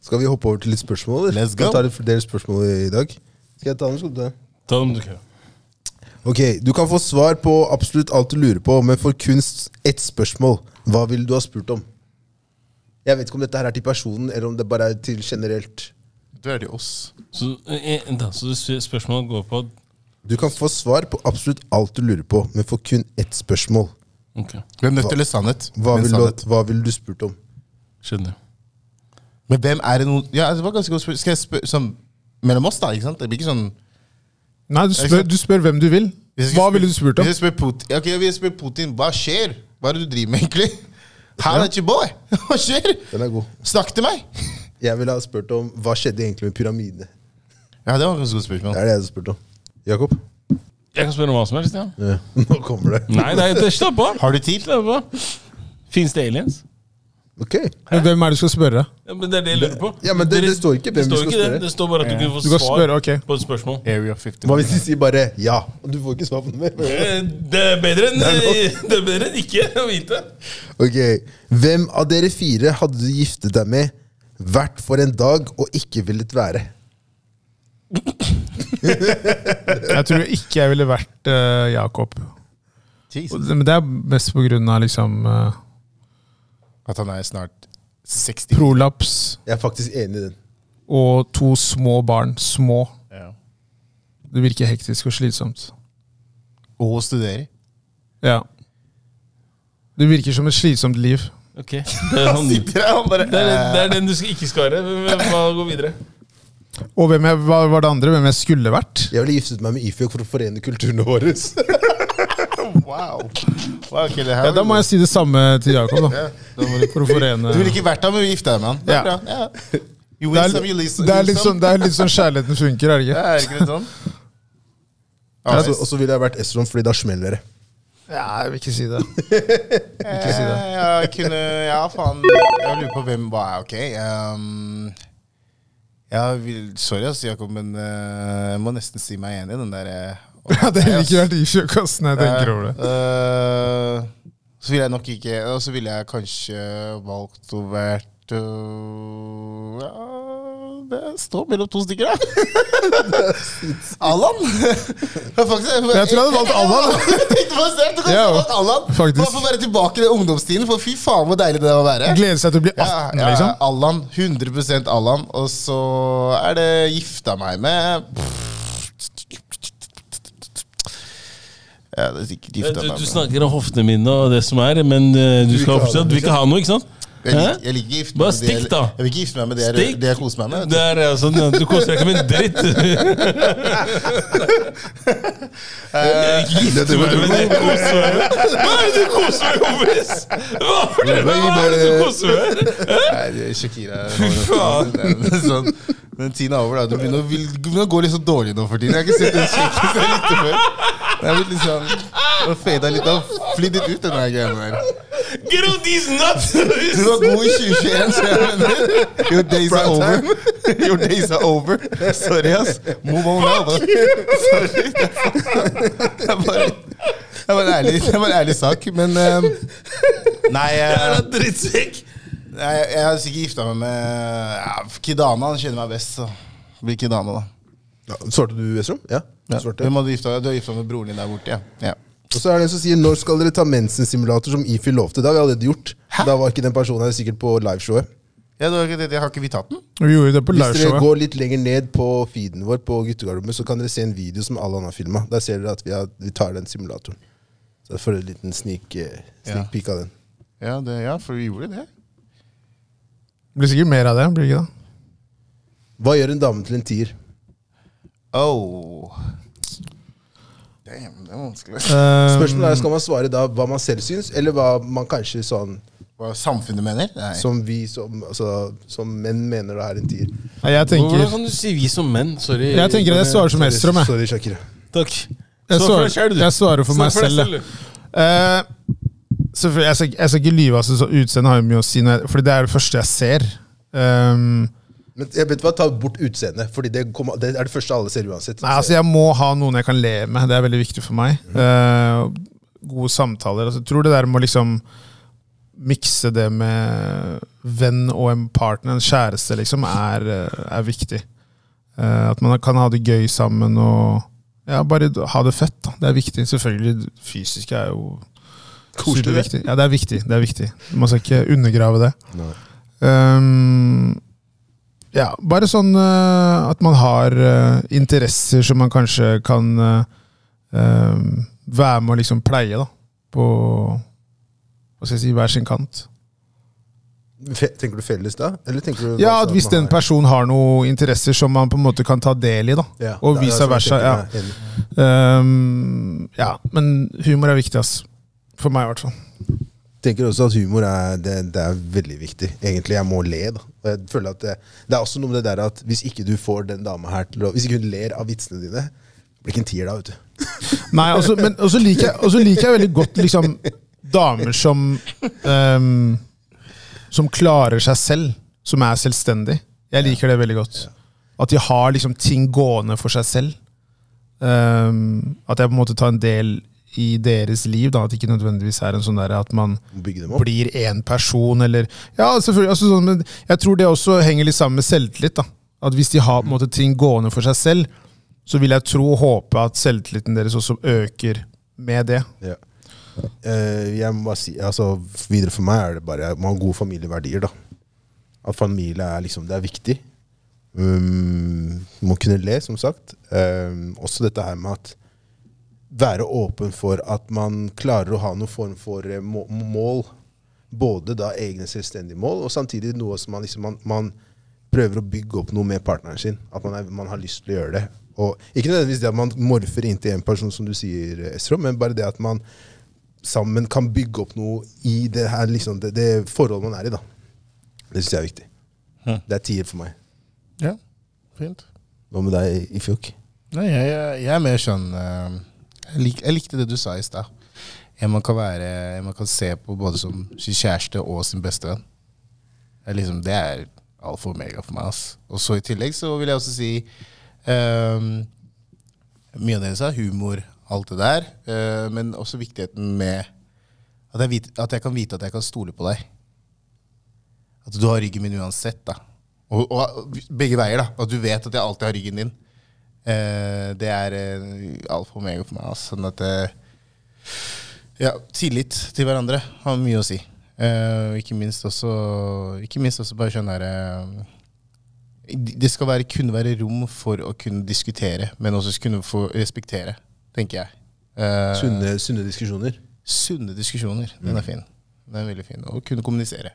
B: Skal vi hoppe over til litt spørsmål? Eller?
A: Let's go.
B: Jeg tar litt flere spørsmål i dag. Skal jeg ta den? Skal du ta den?
C: Ta den, du kan.
B: Ok, Du kan få svar på absolutt alt du lurer på, men for kunst ett spørsmål. Hva ville du ha spurt om? Jeg vet ikke om dette her er til personen, eller om det bare er til generelt.
A: Du er det oss.
C: Så, eh, vent da, så det spørsmålet går på at-
B: Du kan få svar på absolutt alt du lurer på, men for kun ett spørsmål.
C: Ok,
A: Hvem nødt eller sannhet?
B: Hva
A: Men
B: ville
A: sannhet.
B: du, hva ville du spurt om?
C: skjønner.
A: Men hvem er det noen Ja, det var ganske godt spørsmål. Skal jeg spørre sånn mellom oss, da? ikke sant? Det blir ikke sånn
D: Nei, du spør, du spør hvem du vil.
A: Hvis jeg skal
D: Hva
A: spør-
D: ville du spurt om?
A: Hvis jeg spør Putin, ok, hvis jeg spør Putin Hva skjer? Hva er det du driver med, egentlig? How at your boy? Hva skjer?
B: Den er god.
A: Snakk til meg!
B: Jeg ville ha spurt om hva skjedde egentlig med pyramidene.
A: Ja, det var et ganske godt spørsmål.
B: Det er det jeg hadde spurt om. Jakob?
C: Jeg kan spørre om hva som helst, ja.
B: Ja. Nå kommer det.
C: Nei, nei, det- slapp av.
A: Har du tid?
C: Slapp av. Fins det aliens?
B: Ok.
D: Men hvem er det du skal spørre?
C: Ja, men Det er det jeg lurer på.
B: Ja, men det-
C: Dere-
B: det står ikke hvem
C: det
B: vi skal
C: ikke det.
B: spørre.
C: Det står bare at du kan få
D: Du kan
C: svar
D: spørre, ok.
C: på et spørsmål.
A: Area 51.
B: Hva hvis de sier bare ja? Og du får ikke svar på noe mer?
C: Eh, Det er bedre enn
B: er
C: det er bedre enn ikke å vite.
B: Ok, Hvem av dere fire hadde du giftet deg med, vært for en dag og ikke villet være?
D: Jeg tror ikke jeg ville vært eh, Jakob. Og
A: Jesus.
D: det- Men det er mest på grunn av liksom eh,
A: At han er snart 60.
D: prolaps
B: Jeg er faktisk enig i den.
D: og to små barn. Små.
A: Ja.
D: Det virker hektisk og slitsomt.
A: Og studerer.
D: Ja. Det virker som et slitsomt liv.
C: Ok, Det er, han, det,
A: Sitter her og bare
C: er, det er den du skal ikke skare. Hva går videre?
D: Og hvem jeg, hva var det andre? Hvem jeg skulle vært?
B: Jeg ville giftet meg med Ifjok for å forene kulturene våre.
A: Wow. wow okay, det her
D: Ja, da må jeg si det samme til Jakob, da. For å forene
A: Du ville ikke vært der, men vi gifta deg med han. Det er
D: Ja.
A: bra. Ja. You
D: det
A: win
D: er,
A: some, you lose
D: det er litt
A: lose
D: sånn,
A: some.
D: det er litt sånn kjærligheten funker, er det
A: Ja,
D: ikke?
A: er det ikke litt sånn?
B: Og så- Og så ville jeg vært Esrom, fordi da smeller det.
D: Ja, jeg vil ikke si det.
A: Ikke si det. Jeg kunne Ja, faen. Jeg lurer på hvem hva er ok. Um, jeg vil, sorry, ass, Jakob, men eh, jeg må nesten si meg enig i den der eh,
D: Ja, det ville ikke vært Ifjøkassen, jeg tenker over det.
A: Eh, så ville jeg nok ikke Og så ville jeg kanskje valgt å vært øh, ja, Det står mellom to stykker, da. Allan. Ja, faktisk, jeg,
D: Jeg tror jeg hadde valgt Allan.
A: Jeg tenkte på det selv, du kan
D: Ja,
A: ha valgt Allan.
D: faktisk.
A: Bare for å være tilbake i den ungdomstiden, for fy faen hvor deilig det var å være.
D: Gleder seg til å bli
A: Ja,
D: 18,
A: ja,
D: liksom.
A: Allan. 100 Allan. Og så er det gifta meg med Ja, det er sikkert
C: Du,
A: gifta meg
C: du
A: med
C: snakker om hofteminnet og det som er, men eh, du skal fortsatt Du vil ikke ha noe, ikke sant?
A: Jeg liker,
C: Hæ?
A: jeg liker gifte
C: Bare
A: meg med det jeg-
C: stikk, da.
A: Jeg vil ikke gifte meg med det jeg,
C: Stikk.
A: det jeg koser meg med.
C: Det er eh, sånn, ja, Du koser deg ikke med en dritt. Jeg er Gift meg med Eh, det koser meg med. Hva er det du koser deg med, kompis? Hva er det- hva er det du koser deg med?
A: Nei, det er Shakira Det er sånn, Den tiden er over, da. Du begynner å, vil, du begynner å gå litt så dårlig nå for tiden. Jeg har ikke sett den shaken som jeg likte før. Det er blitt litt sånn Det har fadet litt, det har flydd litt ut, den der greia der.
C: Get out these nuts!
A: Du var god i 2021, så jeg mener Your days are over. Your days are over. Sorry, ass. Move on now, da. Sorry. Det er bare det er bare en ærlig, det er bare en ærlig sak, men ehm, Nei, jeg,
C: Drittsekk!
A: nei, jeg har sikkert gifta meg med ja, Kidana. Han kjenner meg best, så det blir Kidana, da.
B: Ja, svarte du, Esrom? Ja. du
A: Ja.
B: Svarte.
A: Hvem hadde du gifta deg? Du har gifta deg med broren din der borte, ja. ja.
B: Og så er det en som sier når skal dere ta mensensimulator, som Ifi lovte. Det har vi allerede gjort.
A: Hæ?
B: Da var ikke den personen her sikkert på liveshowet.
A: ja det var ikke det, jeg har ikke vi tatt den?
D: Vi gjorde det på
B: Hvis dere
D: liveshowet.
B: går litt lenger ned på feeden vår, på guttegarderoben, så kan dere se en video som Allan har filma. Der ser dere at vi, har, vi tar den simulatoren. Så jeg får en liten sneak, eh,
A: Ja.
B: sneak peek av den.
A: Ja, det, ja, for vi gjorde det.
D: Det blir sikkert mer av det. blir det ikke det?
B: Hva gjør en dame til en tier?
A: Oh. Damn, det er vanskelig.
D: Eh,
B: Spørsmålet er, Skal man svare da hva man selv syns, eller hva man kanskje sånn
A: Hva samfunnet mener? Nei.
B: som vi som, altså, som menn mener det er en tier?
D: nei, jeg
C: Hvordan
D: tenker
C: kan du si vi som menn? Sorry.
D: Jeg tenker at jeg svarer som Estrom, jeg.
B: Sorry, Shakira.
C: Takk.
D: Jeg
C: Svar for deg
D: svarer,
C: selv, du.
D: jeg svarer for
C: Svar
D: meg
C: for deg
D: selv. jeg.
C: selv, du.
D: Eh, selvfølgelig, jeg, skal, jeg skal ikke lyve, altså, så utseendet har jo mye å si, når jeg- Fordi det er det første jeg ser. Um,
B: Men jeg vet hva, ta bort utseendet, Fordi det, kommer- det er det første alle ser uansett.
D: nei, altså, jeg må ha noen jeg kan le med, det er veldig viktig for meg. Eh, gode samtaler. Altså, jeg tror det der med å liksom mikse det med venn og en partner, en kjæreste, liksom, er, eh, er viktig. Eh, at man kan ha det gøy sammen og ja, bare d- ha det fett. da. Det er viktig. Selvfølgelig, det fysiske er jo
B: Koselig, det.
D: superviktig. Ja, det er viktig. det er viktig. Man skal ikke undergrave det.
B: Nei.
D: Ehm, ja, bare sånn eh, at man har eh, interesser som man kanskje kan eh, ehm, være med og liksom pleie, da. På hva skal jeg si, hver sin kant.
B: Fe tenker du felles da? Eller tenker du
D: Ja,
B: bare
D: at
B: sånn
D: hvis
B: man
D: den
B: har-
D: personen har noen interesser som man på en måte kan ta del i, da.
B: Ja,
D: og
B: det er
D: vice
B: sånn jeg
D: versa,
B: tenker,
D: ja.
B: jeg er enig.
D: Ehm, ja, men humor er viktig, ass. For meg, i hvert fall.
B: tenker også at humor er, det, det er veldig viktig. Egentlig, jeg må le. da. Og jeg føler at det, det er også noe med det der at hvis ikke du får den dama her til å Hvis ikke hun ler av vitsene dine, blir ikke en tier da, vet du.
D: Nei, også, men også liker, jeg, også liker jeg veldig godt liksom, damer som ehm, Som klarer seg selv, som er selvstendig. Jeg liker det veldig godt. At de har liksom ting gående for seg selv. Ehm, at jeg på en måte tar en del i deres liv. Da, at det ikke nødvendigvis er en sånn der at man
B: Bygge dem opp.
D: blir én person, eller Ja, selvfølgelig. Altså, sånn, men jeg tror det også henger litt sammen med selvtillit. da. At hvis de har på en måte, ting gående for seg selv, så vil jeg tro og håpe at selvtilliten deres også øker med det.
B: Ja. Eh, jeg må bare si, altså, videre for meg er det bare jeg må ha gode familieverdier. da. At familie er liksom, det er viktig. Um, må kunne le, som sagt. Um, også dette her med at være åpen for at man klarer å ha noen form for eh, må- mål. Både da egne selvstendige mål, og samtidig noe som man, liksom, man, man prøver å bygge opp noe med partneren sin. At man, er, man har lyst til å gjøre det. Og ikke nødvendigvis det at man morfer inntil en person, som du sier, Estro, men bare det at man sammen kan bygge opp noe i det, her, liksom, det, det forholdet man er i. da. Det syns jeg er viktig. Det er tier for meg.
A: Ja, fint.
B: Hva med deg, Ifjok?
A: Nei, jeg, jeg, jeg er mer sånn eh, jeg, lik, jeg likte det du sa i stad. En man kan være En man kan se på både som sin kjæreste og sin bestevenn. Det er Liksom, det er alfa og omega for meg. Ass. Og så i tillegg så vil jeg også si eh, Mye av det jeg sa, humor, alt det der. eh, men også viktigheten med at jeg, vit, at jeg kan vite at jeg kan stole på deg. At du har ryggen min uansett. da Og, og begge veier. da At du vet at jeg alltid har ryggen din. Eh, det er uh, alfa og omega for meg. ass. Sånn at eh, Ja, tillit til hverandre har mye å si. Eh, og ikke minst også Ikke minst også bare sånn derre Det skal være, kunne være rom for å kunne diskutere, men også kunne få respektere, tenker jeg. Eh,
B: Sunne, sunne diskusjoner.
A: sunne diskusjoner. Den er fin. Den er veldig fin. Og kunne kommunisere.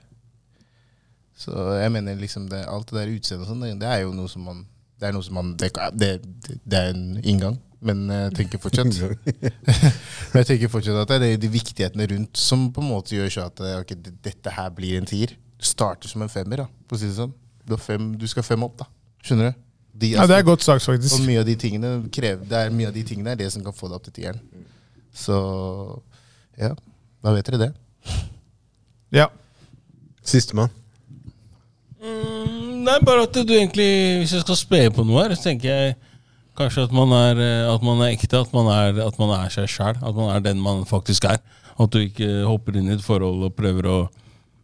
A: Så jeg mener liksom det, alt det der utseendet og sånn, det- det er jo noe som man Det er noe som man Det, det, det er en inngang, men jeg tenker fortsatt Men jeg tenker fortsatt at det er de viktighetene rundt som på en måte gjør så at eh, ok, det- dette her blir en tier. Du starter som en femmer, da, for å si det sånn. Du, har fem, du skal fem opp, da. Skjønner du? De,
D: Ja, Det er godt sagt,
A: og
D: faktisk.
A: mye av de tingene krever, det er mye av de tingene er det som kan få deg opp til tieren. Så ja, da vet dere det.
D: Ja.
B: Sistemann.
C: Nei, bare at du egentlig Hvis jeg skal spe på noe her, så tenker jeg kanskje at man er, eh, at man er ekte. At man er, at man er seg sjæl. At man er den man faktisk er. At du ikke hopper inn i et forhold og prøver å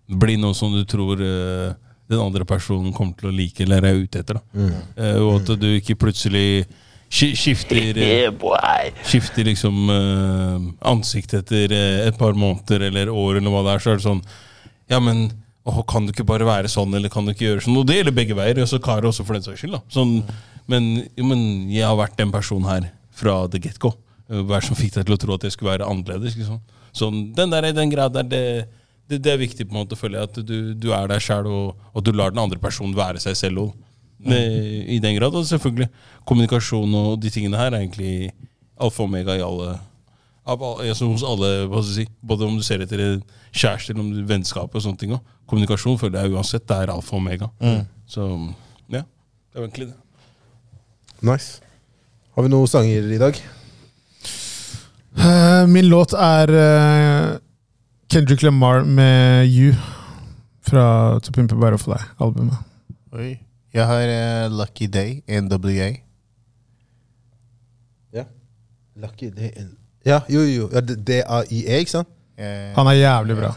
C: bli noe som du tror eh, den andre personen kommer til å like eller er ute etter. Da. Eh, og at du ikke plutselig sk skifter eh, skifter liksom eh, ansikt etter eh, et par måneder eller år, eller hva det er, så er det sånn Ja, men åh, kan du ikke bare være sånn, eller kan du ikke gjøre sånn? Og det gjelder begge veier, og så Karo også, for den saks skyld. da sånn, men, jo, men jeg har vært den personen her fra the get-go. Eh, Hva er det som fikk deg til å tro at jeg skulle være annerledes? Liksom? Sånn, den der, i den grad der, det, det, det er viktig på en måte, føler jeg, at du, du er deg sjæl, og, og du lar den andre personen være seg selv òg. eh, I den grad, og selvfølgelig. Kommunikasjon og de tingene her er egentlig alfa og omega i alle av al- altså hos alle, hva skal jeg si, både om du ser etter en kjæreste eller om du vennskap og sånne ting. også. Kommunikasjon føler jeg uansett det er alfa og omega. Så ja, Mm. det er egentlig det.
B: Nice. Har vi noen sanger i dag?
D: Eh, min låt er eh, Kendrick Lamar med You fra To Pimpe Butterfly-albumet.
A: Oi. Jeg har eh, Lucky Day, NWA.
B: Ja. Lucky Day in Ja, jo, jo. jo. Ja, D- DAIE, ikke sant? Ah,
A: Eh,
D: Han er jævlig bra.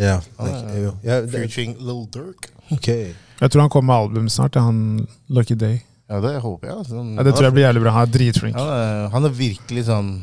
B: Ja. det er ikke- jo. ja det,
A: Featuring Lil Durk.
B: ok.
D: Jeg tror han kommer med album snart. ja, Han Lucky Day.
A: Ja, det håper jeg. Altså.
D: Ja, det tror jeg blir jævlig bra. Han er dritflink.
A: Han er, han er virkelig sånn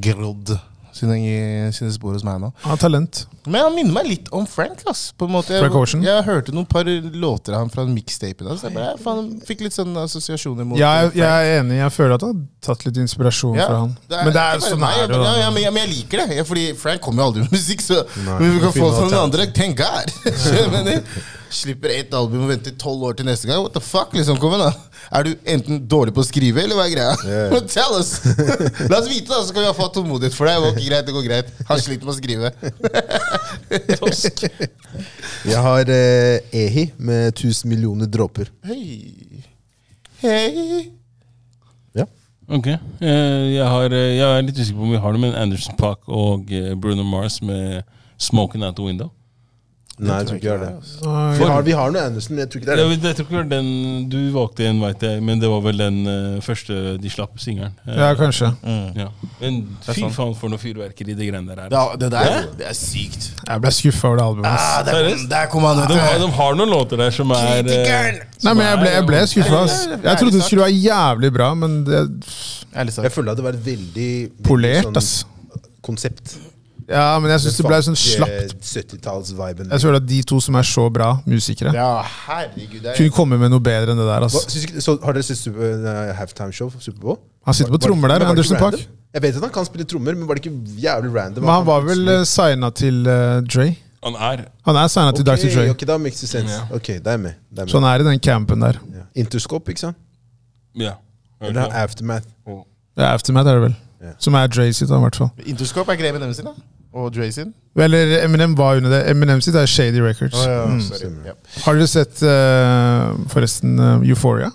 A: grodd sine, sine spor hos meg nå.
D: Han har talent.
A: Men han minner meg litt om Frank. ass på en måte. Jeg,
D: Frank Ocean?
A: jeg hørte noen par låter av ham fra mixtapen hans. Jeg bare, faen, fikk litt sånne assosiasjoner mot
D: Ja, jeg,
A: Frank.
D: jeg er enig. Jeg føler at han har tatt litt inspirasjon
A: Ja,
D: fra han. Men det er
A: bare
D: sånn
A: meg,
D: er
A: jeg,
D: det.
A: ja, ja,
D: da.
A: men, ja, men jeg liker det. Ja, fordi Frank kommer jo aldri med musikk, så
B: Nei,
A: men vi
B: det
A: kan få
B: er fin
A: sånn
B: alternativ.
A: andre. Tenk her! Jeg mener, Slipper ett album og venter tolv år til neste gang. What the fuck? liksom, kom igjen da Er du enten dårlig på å skrive, eller hva er greia?
B: Ja.
A: Tell us! La oss vite, da, så kan vi ha fått tålmodighet for deg. Det går greit, det går greit. Han sliter med å skrive.
B: Jeg har eh, Ehi med 1000 millioner dråper.
A: Hei. Hei.
B: Ja.
C: Ok. Eh, Jeg, har, eh, jeg er litt usikker på om vi har det, men Anderson Park og eh, Bruno Mars med 'Smoking Out the Window'.
B: Nei, jeg tror ikke jeg har det.
D: Ah,
B: Vi har, vi har noe Anderson, men jeg tror ikke det er det.
C: Jeg, vet- jeg tror ikke det var den du valgte en, vet jeg, men det var vel den eh, første de slapp, singelen. Eh,
D: Ja, kanskje.
C: ja. Men fy faen for noe fyrverkeri de greiene der er.
A: Ja, det der det er sykt.
D: Jeg ble skuffa over det albumet. ass.
A: Ah, der, kom- der kom han,
C: De har,
A: vet du.
C: de har noen låter der som er eh,
A: Kritikeren!
D: Nei, men jeg ble, jeg ble skuffa. ass. Jeg trodde det skulle være jævlig bra, men det
A: Ærlig sagt.
B: Jeg sånn- føler at det var et veldig veldig
D: polert,
B: sånn
D: ass.
B: konsept.
D: Ja, men jeg syns det ble sånn slapt.
B: 70-talls-viben.
D: Jeg føler at de to som er så bra musikere,
A: Ja, herregud. Det er
D: kunne komme med noe bedre enn det der. altså.
B: Hva,
D: ass.
B: syns ikke- Så har dere sett Super- eh, halftime show for Superbowl?
D: Han sitter
B: Var-
D: på
B: var-
D: trommer der,
B: men var det
D: Anderson
B: ikke
D: Paak.
B: random? Jeg vet at han kan spille trommer, men var det ikke jævlig random?
D: Men han var vel signa til eh, Dre.
C: Han er
D: Han er signa til Dr. Dre,
B: Ok, da makes det sense. Ok, det er med. Det er med.
D: så han er i den campen der.
B: ja. Interscope, ikke sant?
C: Ja.
B: Eller han er Aftermath.
D: Ja, Aftermath er det vel.
B: Ja.
D: Som er Dre sitt, da, i hvert fall.
A: Interscope er greia med dem sine. Og Dre sin.
D: Eller Eminem var under det. Eminem sitt er Shady Records. mm.
A: Sorry. Ja.
D: Har dere sett eh, forresten eh, Euphoria?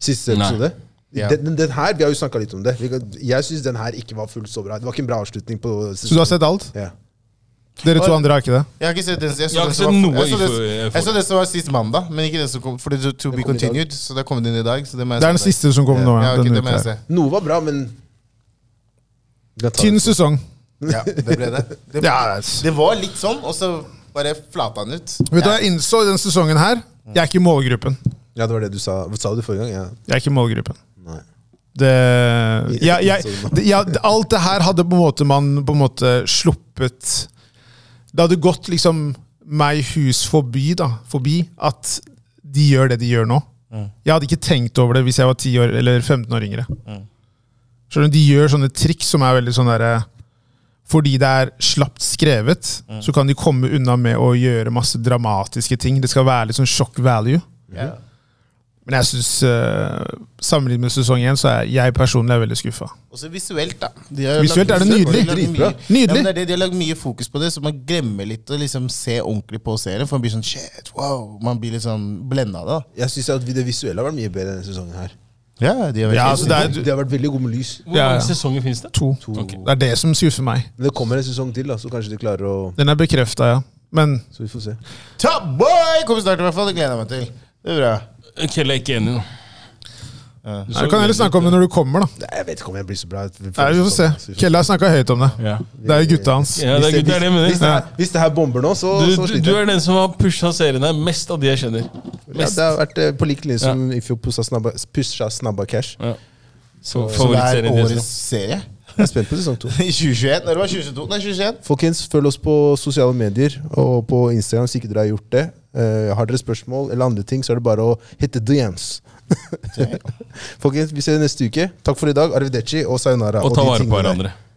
B: Siste
C: Nei.
B: episode.
A: Ja.
B: Den, den her, Vi har jo snakka litt om det. Vi kan- Jeg syns den her ikke var fullt så bra. Det var ikke en bra avslutning på
D: Så du har sett alt?
B: Ja.
D: Dere to andre har ikke det?
A: Jeg har ikke sett den. Jeg så
C: Jeg
A: den
C: har ikke
A: som
C: sett
A: var-
C: noe
A: jeg så den-
C: i- for-
A: Jeg så den som var sist mandag, men ikke den som kom. Fordi to, to be
B: kom i dag.
A: continued, så det er kommet inn i dag. Så det må jeg
D: Det er den
A: se i dag.
D: siste som kom nå.
A: Ja, ok,
D: denne
A: det må jeg
D: uka
A: se.
D: her.
B: Noe var bra, men Jeg tar
D: Tynn
B: det.
D: sesong.
A: Ja, det ble det. Det,
D: Ja, det
A: det var litt sånn, og så bare flata den ut.
D: Vet du hva jeg innså i denne sesongen her? Jeg er ikke i målgruppen.
B: Ja, det var det du sa. Hva sa du forrige gang? Ja.
D: Jeg er ikke i målgruppen.
B: Nei.
D: Det, jeg, jeg, det, ja, alt det her hadde på en måte man på en måte sluppet Det hadde gått liksom meg hus forbi, da, forbi at de gjør det de gjør nå. Jeg hadde ikke tenkt over det hvis jeg var 10 år eller 15 år yngre. Skjønner du, De gjør sånne triks som er veldig sånn derre Fordi det er slapt skrevet, så kan de komme unna med å gjøre masse dramatiske ting. Det skal være litt sånn shock value.
A: Ja.
D: Men jeg synes, eh, sammenlignet med sesong én, så er jeg personlig er veldig skuffa.
A: Og så visuelt, da. De har
D: Visuelt er det
A: de har
D: nydelig.
A: lagd mye-
B: Dritbra.
D: Nydelig.
A: Ja, men det er det, de har lagd mye fokus på det, så man glemmer litt å liksom se ordentlig på serien. For man blir sånn shit, wow. Man blir litt sånn blenda av det.
B: Jeg syns at det visuelle har vært mye bedre denne sesongen her.
A: da. Ja, de har
D: Ja,
A: vært-
D: altså, det er-
B: Det har vært veldig god med lys.
C: Hvor
D: Ja, ja.
C: mange sesonger finnes det?
D: To.
C: Ok.
D: Det er det som skuffer meg.
B: Men det kommer en sesong til, da, så kanskje de klarer å
D: Den er bekrefta, ja. Men
B: Så vi får se.
A: Top boy kommer snart, i hvert fall. Det gleder jeg meg til. Det er bra.
C: Kjell er ikke enig nå. Du så
D: jeg kan heller
C: veldig-
D: snakke om det når du kommer, da.
B: Nei, jeg vet ikke om jeg blir så bra.
D: Nei, vi får se. Kelle har snakka høyt om det.
C: Ja.
D: Det er jo gutta hans.
C: Ja, det er gutt, det er det jeg
B: Hvis,
C: mener.
B: det her- hvis det her bomber nå, så,
C: Du,
B: så
C: du, du
B: sliter jeg.
C: er den som har pusha serien her mest av de jeg kjenner.
B: Ja,
C: Mest.
B: det har vært eh, på lik linje som i fjor pussa snabba, pusha snabba cash.
C: Ja. Så,
A: Så det er
C: favorittserien din.
A: årets serie.
B: Jeg er spent på sesong to.
A: I 2021. Når det var 2022? Nei, 2021.
B: Folkens, følg oss på sosiale medier og på Instagram hvis ikke dere har gjort det. Eh, har dere spørsmål eller andre ting, så er det bare å hitte DMs. Folkens, vi ses neste uke. Takk for i dag. Arrivederci og sayonara.
C: Og ta
B: de
C: vare på
B: tingene der.
C: hverandre.